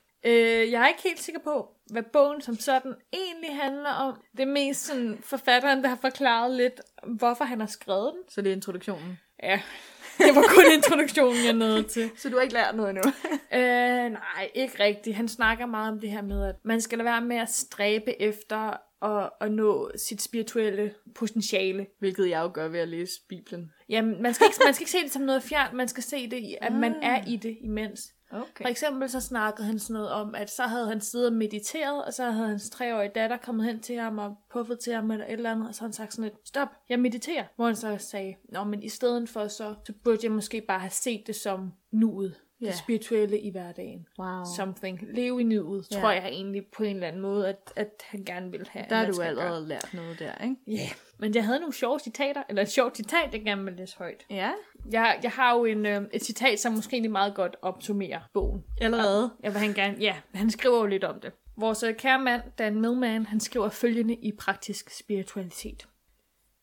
[SPEAKER 2] Øh, jeg er ikke helt sikker på, hvad bogen som sådan egentlig handler om. Det er mest sådan forfatteren, der har forklaret lidt, hvorfor han har skrevet den.
[SPEAKER 1] Så det er introduktionen.
[SPEAKER 2] Ja, det var kun introduktionen, jeg nåede til.
[SPEAKER 1] Så du har ikke lært noget endnu?
[SPEAKER 2] Øh, nej, ikke rigtigt. Han snakker meget om det her med, at man skal lade være med at stræbe efter at, at nå sit spirituelle potentiale.
[SPEAKER 1] Hvilket jeg jo gør ved at læse Bibelen.
[SPEAKER 2] Jamen, man skal, ikke, man skal ikke se det som noget fjernt, man skal se det, i, at man er i det imens.
[SPEAKER 1] Okay.
[SPEAKER 2] For eksempel så snakkede han sådan noget om, at så havde han siddet og mediteret, og så havde hans treårige datter kommet hen til ham og puffet til ham eller et eller andet, og så havde han sagt sådan lidt, stop, jeg mediterer. Hvor han så sagde, nå, men i stedet for så, så burde jeg måske bare have set det som nuet, yeah.
[SPEAKER 1] Ja.
[SPEAKER 2] det spirituelle i hverdagen.
[SPEAKER 1] Wow. Som
[SPEAKER 2] Something. Leve i nuet,
[SPEAKER 1] Ja.
[SPEAKER 2] tror jeg egentlig på en eller anden måde, at, at han gerne ville have. at
[SPEAKER 1] der har
[SPEAKER 2] man
[SPEAKER 1] du
[SPEAKER 2] skal
[SPEAKER 1] allerede
[SPEAKER 2] gøre.
[SPEAKER 1] lært noget der, ikke?
[SPEAKER 2] Ja, yeah. men jeg havde nogle sjove citater, eller et sjovt citat, jeg gerne ville læse højt.
[SPEAKER 1] Ja.
[SPEAKER 2] Jeg, jeg har jo en, øh, et citat, som måske egentlig meget godt opsummerer bogen.
[SPEAKER 1] Allerede.
[SPEAKER 2] Ja, hvad han gerne, ja, han skriver jo lidt om det. Vores øh, kære mand, Dan Millman, han skriver følgende i praktisk spiritualitet.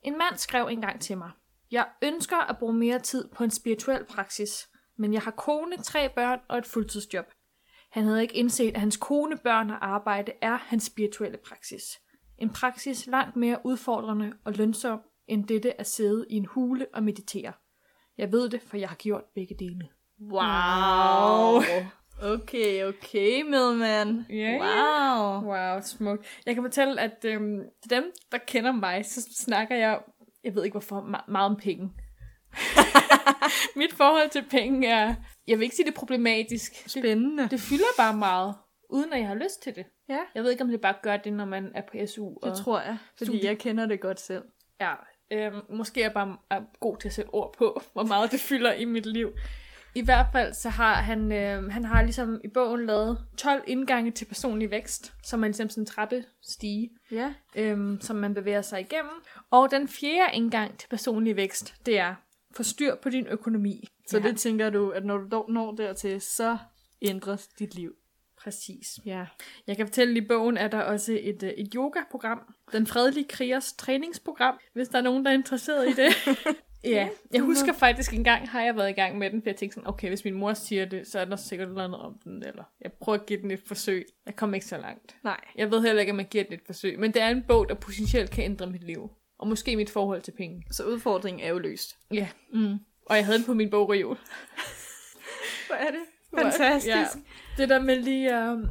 [SPEAKER 2] En mand skrev engang til mig, Jeg ønsker at bruge mere tid på en spirituel praksis, men jeg har kone, tre børn og et fuldtidsjob. Han havde ikke indset, at hans kone, børn og arbejde er hans spirituelle praksis. En praksis langt mere udfordrende og lønsom, end dette at sidde i en hule og meditere. Jeg ved det, for jeg har gjort begge dele.
[SPEAKER 1] Wow. Okay, okay, medmand.
[SPEAKER 2] Ja, ja.
[SPEAKER 1] Wow.
[SPEAKER 2] Wow, smukt. Jeg kan fortælle, at øhm, til dem, der kender mig, så snakker jeg, jeg ved ikke hvorfor, me- meget om penge. Mit forhold til penge er, jeg vil ikke sige det er problematisk. Det,
[SPEAKER 1] Spændende.
[SPEAKER 2] det fylder bare meget, uden at jeg har lyst til det.
[SPEAKER 1] Ja.
[SPEAKER 2] Jeg ved ikke, om det bare gør det, når man er på SU. Og,
[SPEAKER 1] Det tror jeg, fordi
[SPEAKER 2] Studie.
[SPEAKER 1] jeg kender det godt selv.
[SPEAKER 2] Ja, øhm, måske er jeg bare er god til at sætte ord på, hvor meget det fylder i mit liv. I hvert fald så har han, øhm, han har ligesom i bogen lavet 12 indgange til personlig vækst, som er ligesom sådan en trappestige.
[SPEAKER 1] Ja.
[SPEAKER 2] øhm, som man bevæger sig igennem. Og den fjerde indgang til personlig vækst, det er, få styr på din økonomi.
[SPEAKER 1] Så ja. det tænker du, at når du dog når dertil, så ændres dit liv.
[SPEAKER 2] Præcis.
[SPEAKER 1] Ja.
[SPEAKER 2] Jeg kan fortælle, at i bogen er der også et, øh, et yoga-program. Den fredelige krigers træningsprogram, hvis der er nogen, der er interesseret i det. ja, jeg husker faktisk en gang, har jeg været i gang med den, for jeg tænkte sådan, okay, hvis min mor siger det, så er der sikkert noget om den, eller jeg prøver at give den et forsøg. Jeg kom ikke så langt.
[SPEAKER 1] Nej.
[SPEAKER 2] Jeg ved heller ikke, om jeg giver den et forsøg, men det er en bog, der potentielt kan ændre mit liv. Og måske mit forhold til penge.
[SPEAKER 1] Så udfordringen er jo løst.
[SPEAKER 2] Ja. Mm. Og jeg havde den på min bogreol.
[SPEAKER 1] Hvor er det?
[SPEAKER 2] er-
[SPEAKER 1] Fantastisk.
[SPEAKER 2] Ja. Det der med lige at um,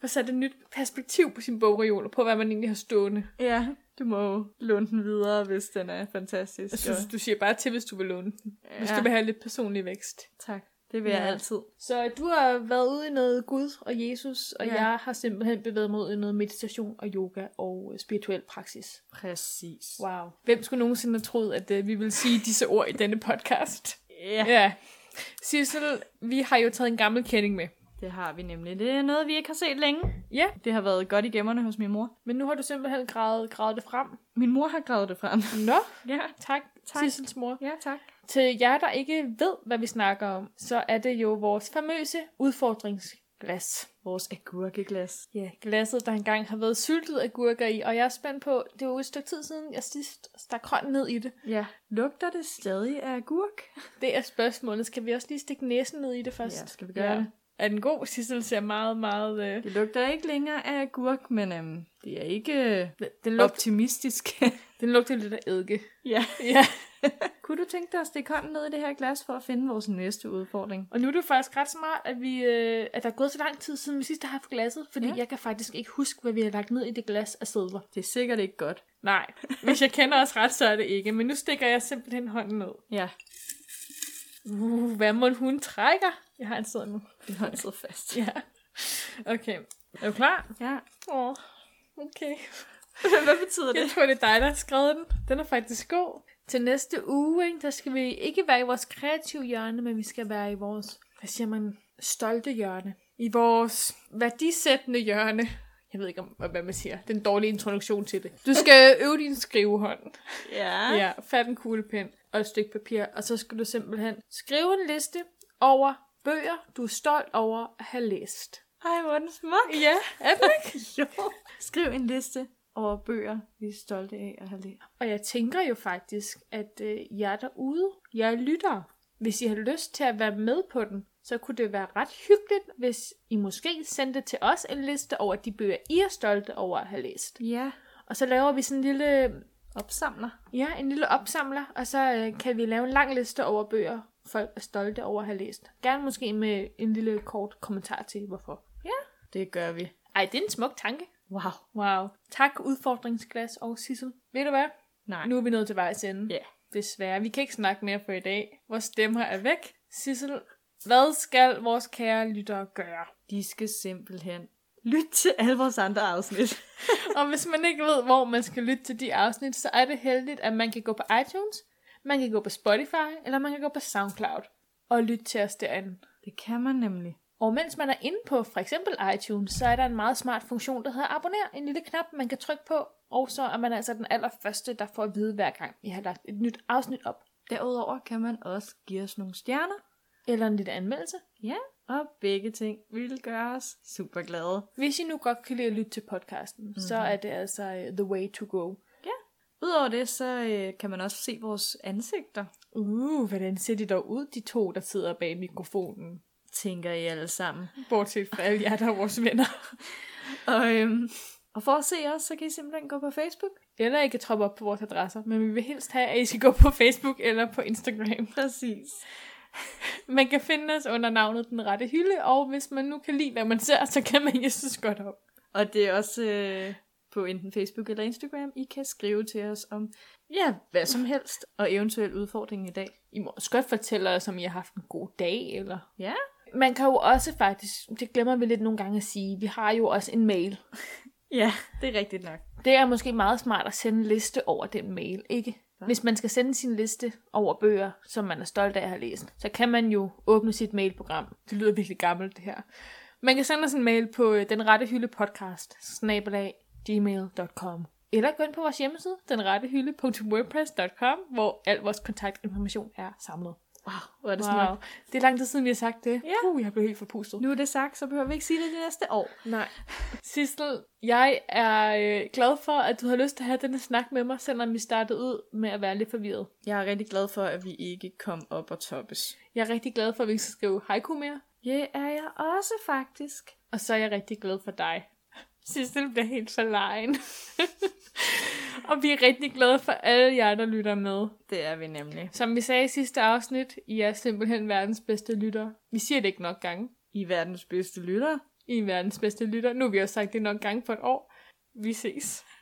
[SPEAKER 2] få sat et nyt perspektiv på sin bogreol, og på hvad man egentlig har stående.
[SPEAKER 1] Ja, du må jo låne den videre, hvis den er fantastisk.
[SPEAKER 2] Jeg synes,
[SPEAKER 1] og-
[SPEAKER 2] du siger bare til, hvis du vil låne den. Ja. Hvis du vil have lidt personlig vækst.
[SPEAKER 1] tak. Det vil ja. jeg
[SPEAKER 2] Ja.
[SPEAKER 1] altid.
[SPEAKER 2] Så du har været ude i noget Gud og Jesus, og
[SPEAKER 1] Ja.
[SPEAKER 2] ja. jeg har simpelthen bevæget mig ud i noget meditation og yoga og øh, spirituel praksis.
[SPEAKER 1] Præcis. Wow.
[SPEAKER 2] Wow. Hvem skulle nogensinde have troet, at øh, vi ville sige disse ord i denne podcast?
[SPEAKER 1] Ja, ja,
[SPEAKER 2] Ja. Sissel, vi har jo taget en gammel kending med.
[SPEAKER 1] det har vi nemlig. Det er noget, vi ikke har set længe.
[SPEAKER 2] Ja,
[SPEAKER 1] Det har været godt i gemmerne hos min mor.
[SPEAKER 2] men nu har du simpelthen gravet, gravet det frem.
[SPEAKER 1] Min mor har gravet det frem.
[SPEAKER 2] Nå,
[SPEAKER 1] ja,
[SPEAKER 2] tak,
[SPEAKER 1] Tak.
[SPEAKER 2] tak. Sissels mor.
[SPEAKER 1] ja, tak.
[SPEAKER 2] Til jer, der ikke ved, hvad vi snakker om, så er det jo vores famøse udfordringsglas.
[SPEAKER 1] Vores agurkeglas.
[SPEAKER 2] Ja, glasset, der engang har været syltet agurker i, og jeg er spændt på, det var jo et stykke tid siden, jeg sidst stak hånden ned i det.
[SPEAKER 1] Ja. Lugter det stadig af agurk?
[SPEAKER 2] Det er spørgsmålet. Skal vi også lige stikke næsen ned i det først?
[SPEAKER 1] Ja, skal vi gøre det?
[SPEAKER 2] Er den god? Sissel ser meget, meget... Øh...
[SPEAKER 1] Det lugter ikke længere af agurk, men øhm, det er ikke øh,
[SPEAKER 2] Den, lugt,
[SPEAKER 1] optimistisk.
[SPEAKER 2] den lugter lidt af eddike.
[SPEAKER 1] ja.
[SPEAKER 2] Ja.
[SPEAKER 1] Kunne du tænke dig at stikke hånden ned i det her glas for at finde vores næste udfordring?
[SPEAKER 2] Og nu er det jo faktisk ret smart, at, vi, øh, at der er gået så lang tid siden vi sidst har haft glasset, fordi
[SPEAKER 1] Ja.
[SPEAKER 2] ja. jeg kan faktisk ikke huske, hvad vi har lagt ned i det glas af sædler.
[SPEAKER 1] Det er sikkert ikke godt.
[SPEAKER 2] Nej, hvis jeg kender os ret, så er det ikke. Men nu stikker jeg simpelthen hånden ned.
[SPEAKER 1] Ja,
[SPEAKER 2] Uh, hvad må hun trækker? Jeg har en sæd nu.
[SPEAKER 1] din hånd sidder fast.
[SPEAKER 2] Ja. Okay. Er du klar?
[SPEAKER 1] Ja.
[SPEAKER 2] Åh, oh, okay.
[SPEAKER 1] Hvad betyder
[SPEAKER 2] Jeg tror, det er dig, der har skrevet den. Den er faktisk god. Til næste uge, ikke, der skal vi ikke være i vores kreative hjørne, men vi skal være i vores, hvad siger man, stolte hjørne. I vores værdisættende hjørne. Jeg ved ikke, om, hvad man siger. Den dårlige introduktion til det. Du skal øve din skrivehånd.
[SPEAKER 1] Ja.
[SPEAKER 2] Ja, fat en kuglepen og et stykke papir, og så skal du simpelthen skrive en liste over bøger, du er stolt over at have læst.
[SPEAKER 1] Ej, hvor er den smuk.
[SPEAKER 2] Ja, er det ikke?
[SPEAKER 1] Jo. Skriv en liste over bøger, vi er stolte af at have lært.
[SPEAKER 2] Og jeg tænker jo faktisk, at øh, jer derude, jer lyttere, hvis I har lyst til at være med på den, så kunne det være ret hyggeligt, hvis I måske sendte til os en liste over de bøger, I er stolte over at have læst.
[SPEAKER 1] Ja.
[SPEAKER 2] Og så laver vi sådan en lille,
[SPEAKER 1] Opsamler.
[SPEAKER 2] ja, en lille opsamler, og så øh, kan vi lave en lang liste over bøger, folk er stolte over at have læst. Gerne måske med en lille kort kommentar til, hvorfor.
[SPEAKER 1] Det gør vi.
[SPEAKER 2] Ej, det er en smuk tanke.
[SPEAKER 1] Wow.
[SPEAKER 2] Wow. Tak, udfordringsglas og Sissel. Ved du hvad?
[SPEAKER 1] Nej.
[SPEAKER 2] Nu er vi nået til vejs ende.
[SPEAKER 1] Ja.
[SPEAKER 2] Desværre, vi kan ikke snakke mere for i dag. Vores stemmer er væk. Sissel, hvad skal vores kære lyttere gøre?
[SPEAKER 1] De skal simpelthen lytte til alle vores andre afsnit.
[SPEAKER 2] Og hvis man ikke ved, hvor man skal lytte til de afsnit, så er det heldigt, at man kan gå på iTunes, man kan gå på Spotify, eller man kan gå på SoundCloud og lytte til os derinde.
[SPEAKER 1] Det kan man nemlig.
[SPEAKER 2] Og mens man er inde på for eksempel iTunes, så er der en meget smart funktion, der hedder abonner. En lille knap, man kan trykke på, og så er man altså den allerførste, der får at vide hver gang, vi har lagt et nyt afsnit op.
[SPEAKER 1] Derudover kan man også give os nogle stjerner.
[SPEAKER 2] Eller en lille anmeldelse.
[SPEAKER 1] Ja. Og begge ting vil gøre os super glade.
[SPEAKER 2] Hvis I nu godt kan lide at lytte til podcasten, mm-hmm. så er det altså uh, the way to go.
[SPEAKER 1] Udover det, så øh, kan man også se vores ansigter.
[SPEAKER 2] Uh, hvordan ser de dog ud, de to, der sidder bag mikrofonen?
[SPEAKER 1] Tænker I alle sammen.
[SPEAKER 2] Bortset fra alle jer, der er vores venner.
[SPEAKER 1] Og, øhm, og for at se os, så kan I simpelthen gå på Facebook.
[SPEAKER 2] Eller I kan troppe op på vores adresser, men vi vil helst have, at I skal gå på Facebook eller på Instagram.
[SPEAKER 1] Præcis.
[SPEAKER 2] Man kan finde os under navnet Den Rette Hylde, og hvis man nu kan lide, hvad man ser, så kan man Jesus godt op.
[SPEAKER 1] Og det er også øh, på enten Facebook eller Instagram, I kan skrive til os om ja, hvad som helst, og eventuelt udfordringen i dag.
[SPEAKER 2] I må også godt fortælle os, om I har haft en god dag, eller
[SPEAKER 1] Ja,
[SPEAKER 2] man kan jo også faktisk, det glemmer vi lidt nogle gange at sige, vi har jo også en mail.
[SPEAKER 1] ja det er rigtigt nok.
[SPEAKER 2] Det er måske meget smart at sende en liste over den mail, ikke?
[SPEAKER 1] Hva?
[SPEAKER 2] Hvis man skal sende sin liste over bøger, som man er stolt af at have læst, så kan man jo åbne sit mailprogram. Det lyder virkelig gammelt, det her. Man kan sende os en mail på øh, den rette hylde podcast, gmail.com. Eller gå ind på vores hjemmeside, denrettehylde.wordpress.com, hvor al vores kontaktinformation er samlet.
[SPEAKER 1] Wow, hvor er det wow.
[SPEAKER 2] Wow.
[SPEAKER 1] smukt.
[SPEAKER 2] Det er lang tid siden, vi har sagt det.
[SPEAKER 1] Ja.
[SPEAKER 2] Uh, jeg blev helt forpustet.
[SPEAKER 1] Nu er det sagt, så behøver vi ikke sige det de næste år.
[SPEAKER 2] Nej. Sissel, jeg er øh, glad for, at du har lyst til at have denne snak med mig, selvom vi startede ud med at være lidt forvirret.
[SPEAKER 1] Jeg er rigtig glad for, at vi ikke kom op og toppes.
[SPEAKER 2] Jeg er rigtig glad for, at vi ikke skal skrive haiku mere,
[SPEAKER 1] Ja, yeah, er jeg også faktisk.
[SPEAKER 2] og så er jeg rigtig glad for dig. Sissel bliver helt forlegen. og vi er rigtig glade for alle jer, der lytter med.
[SPEAKER 1] Det er vi nemlig.
[SPEAKER 2] Som vi sagde i sidste afsnit, I er simpelthen verdens bedste lytter. Vi siger det ikke nok gange.
[SPEAKER 1] I er verdens bedste lytter.
[SPEAKER 2] I er verdens bedste lytter. Nu har vi også sagt det nok gange for et år. Vi ses.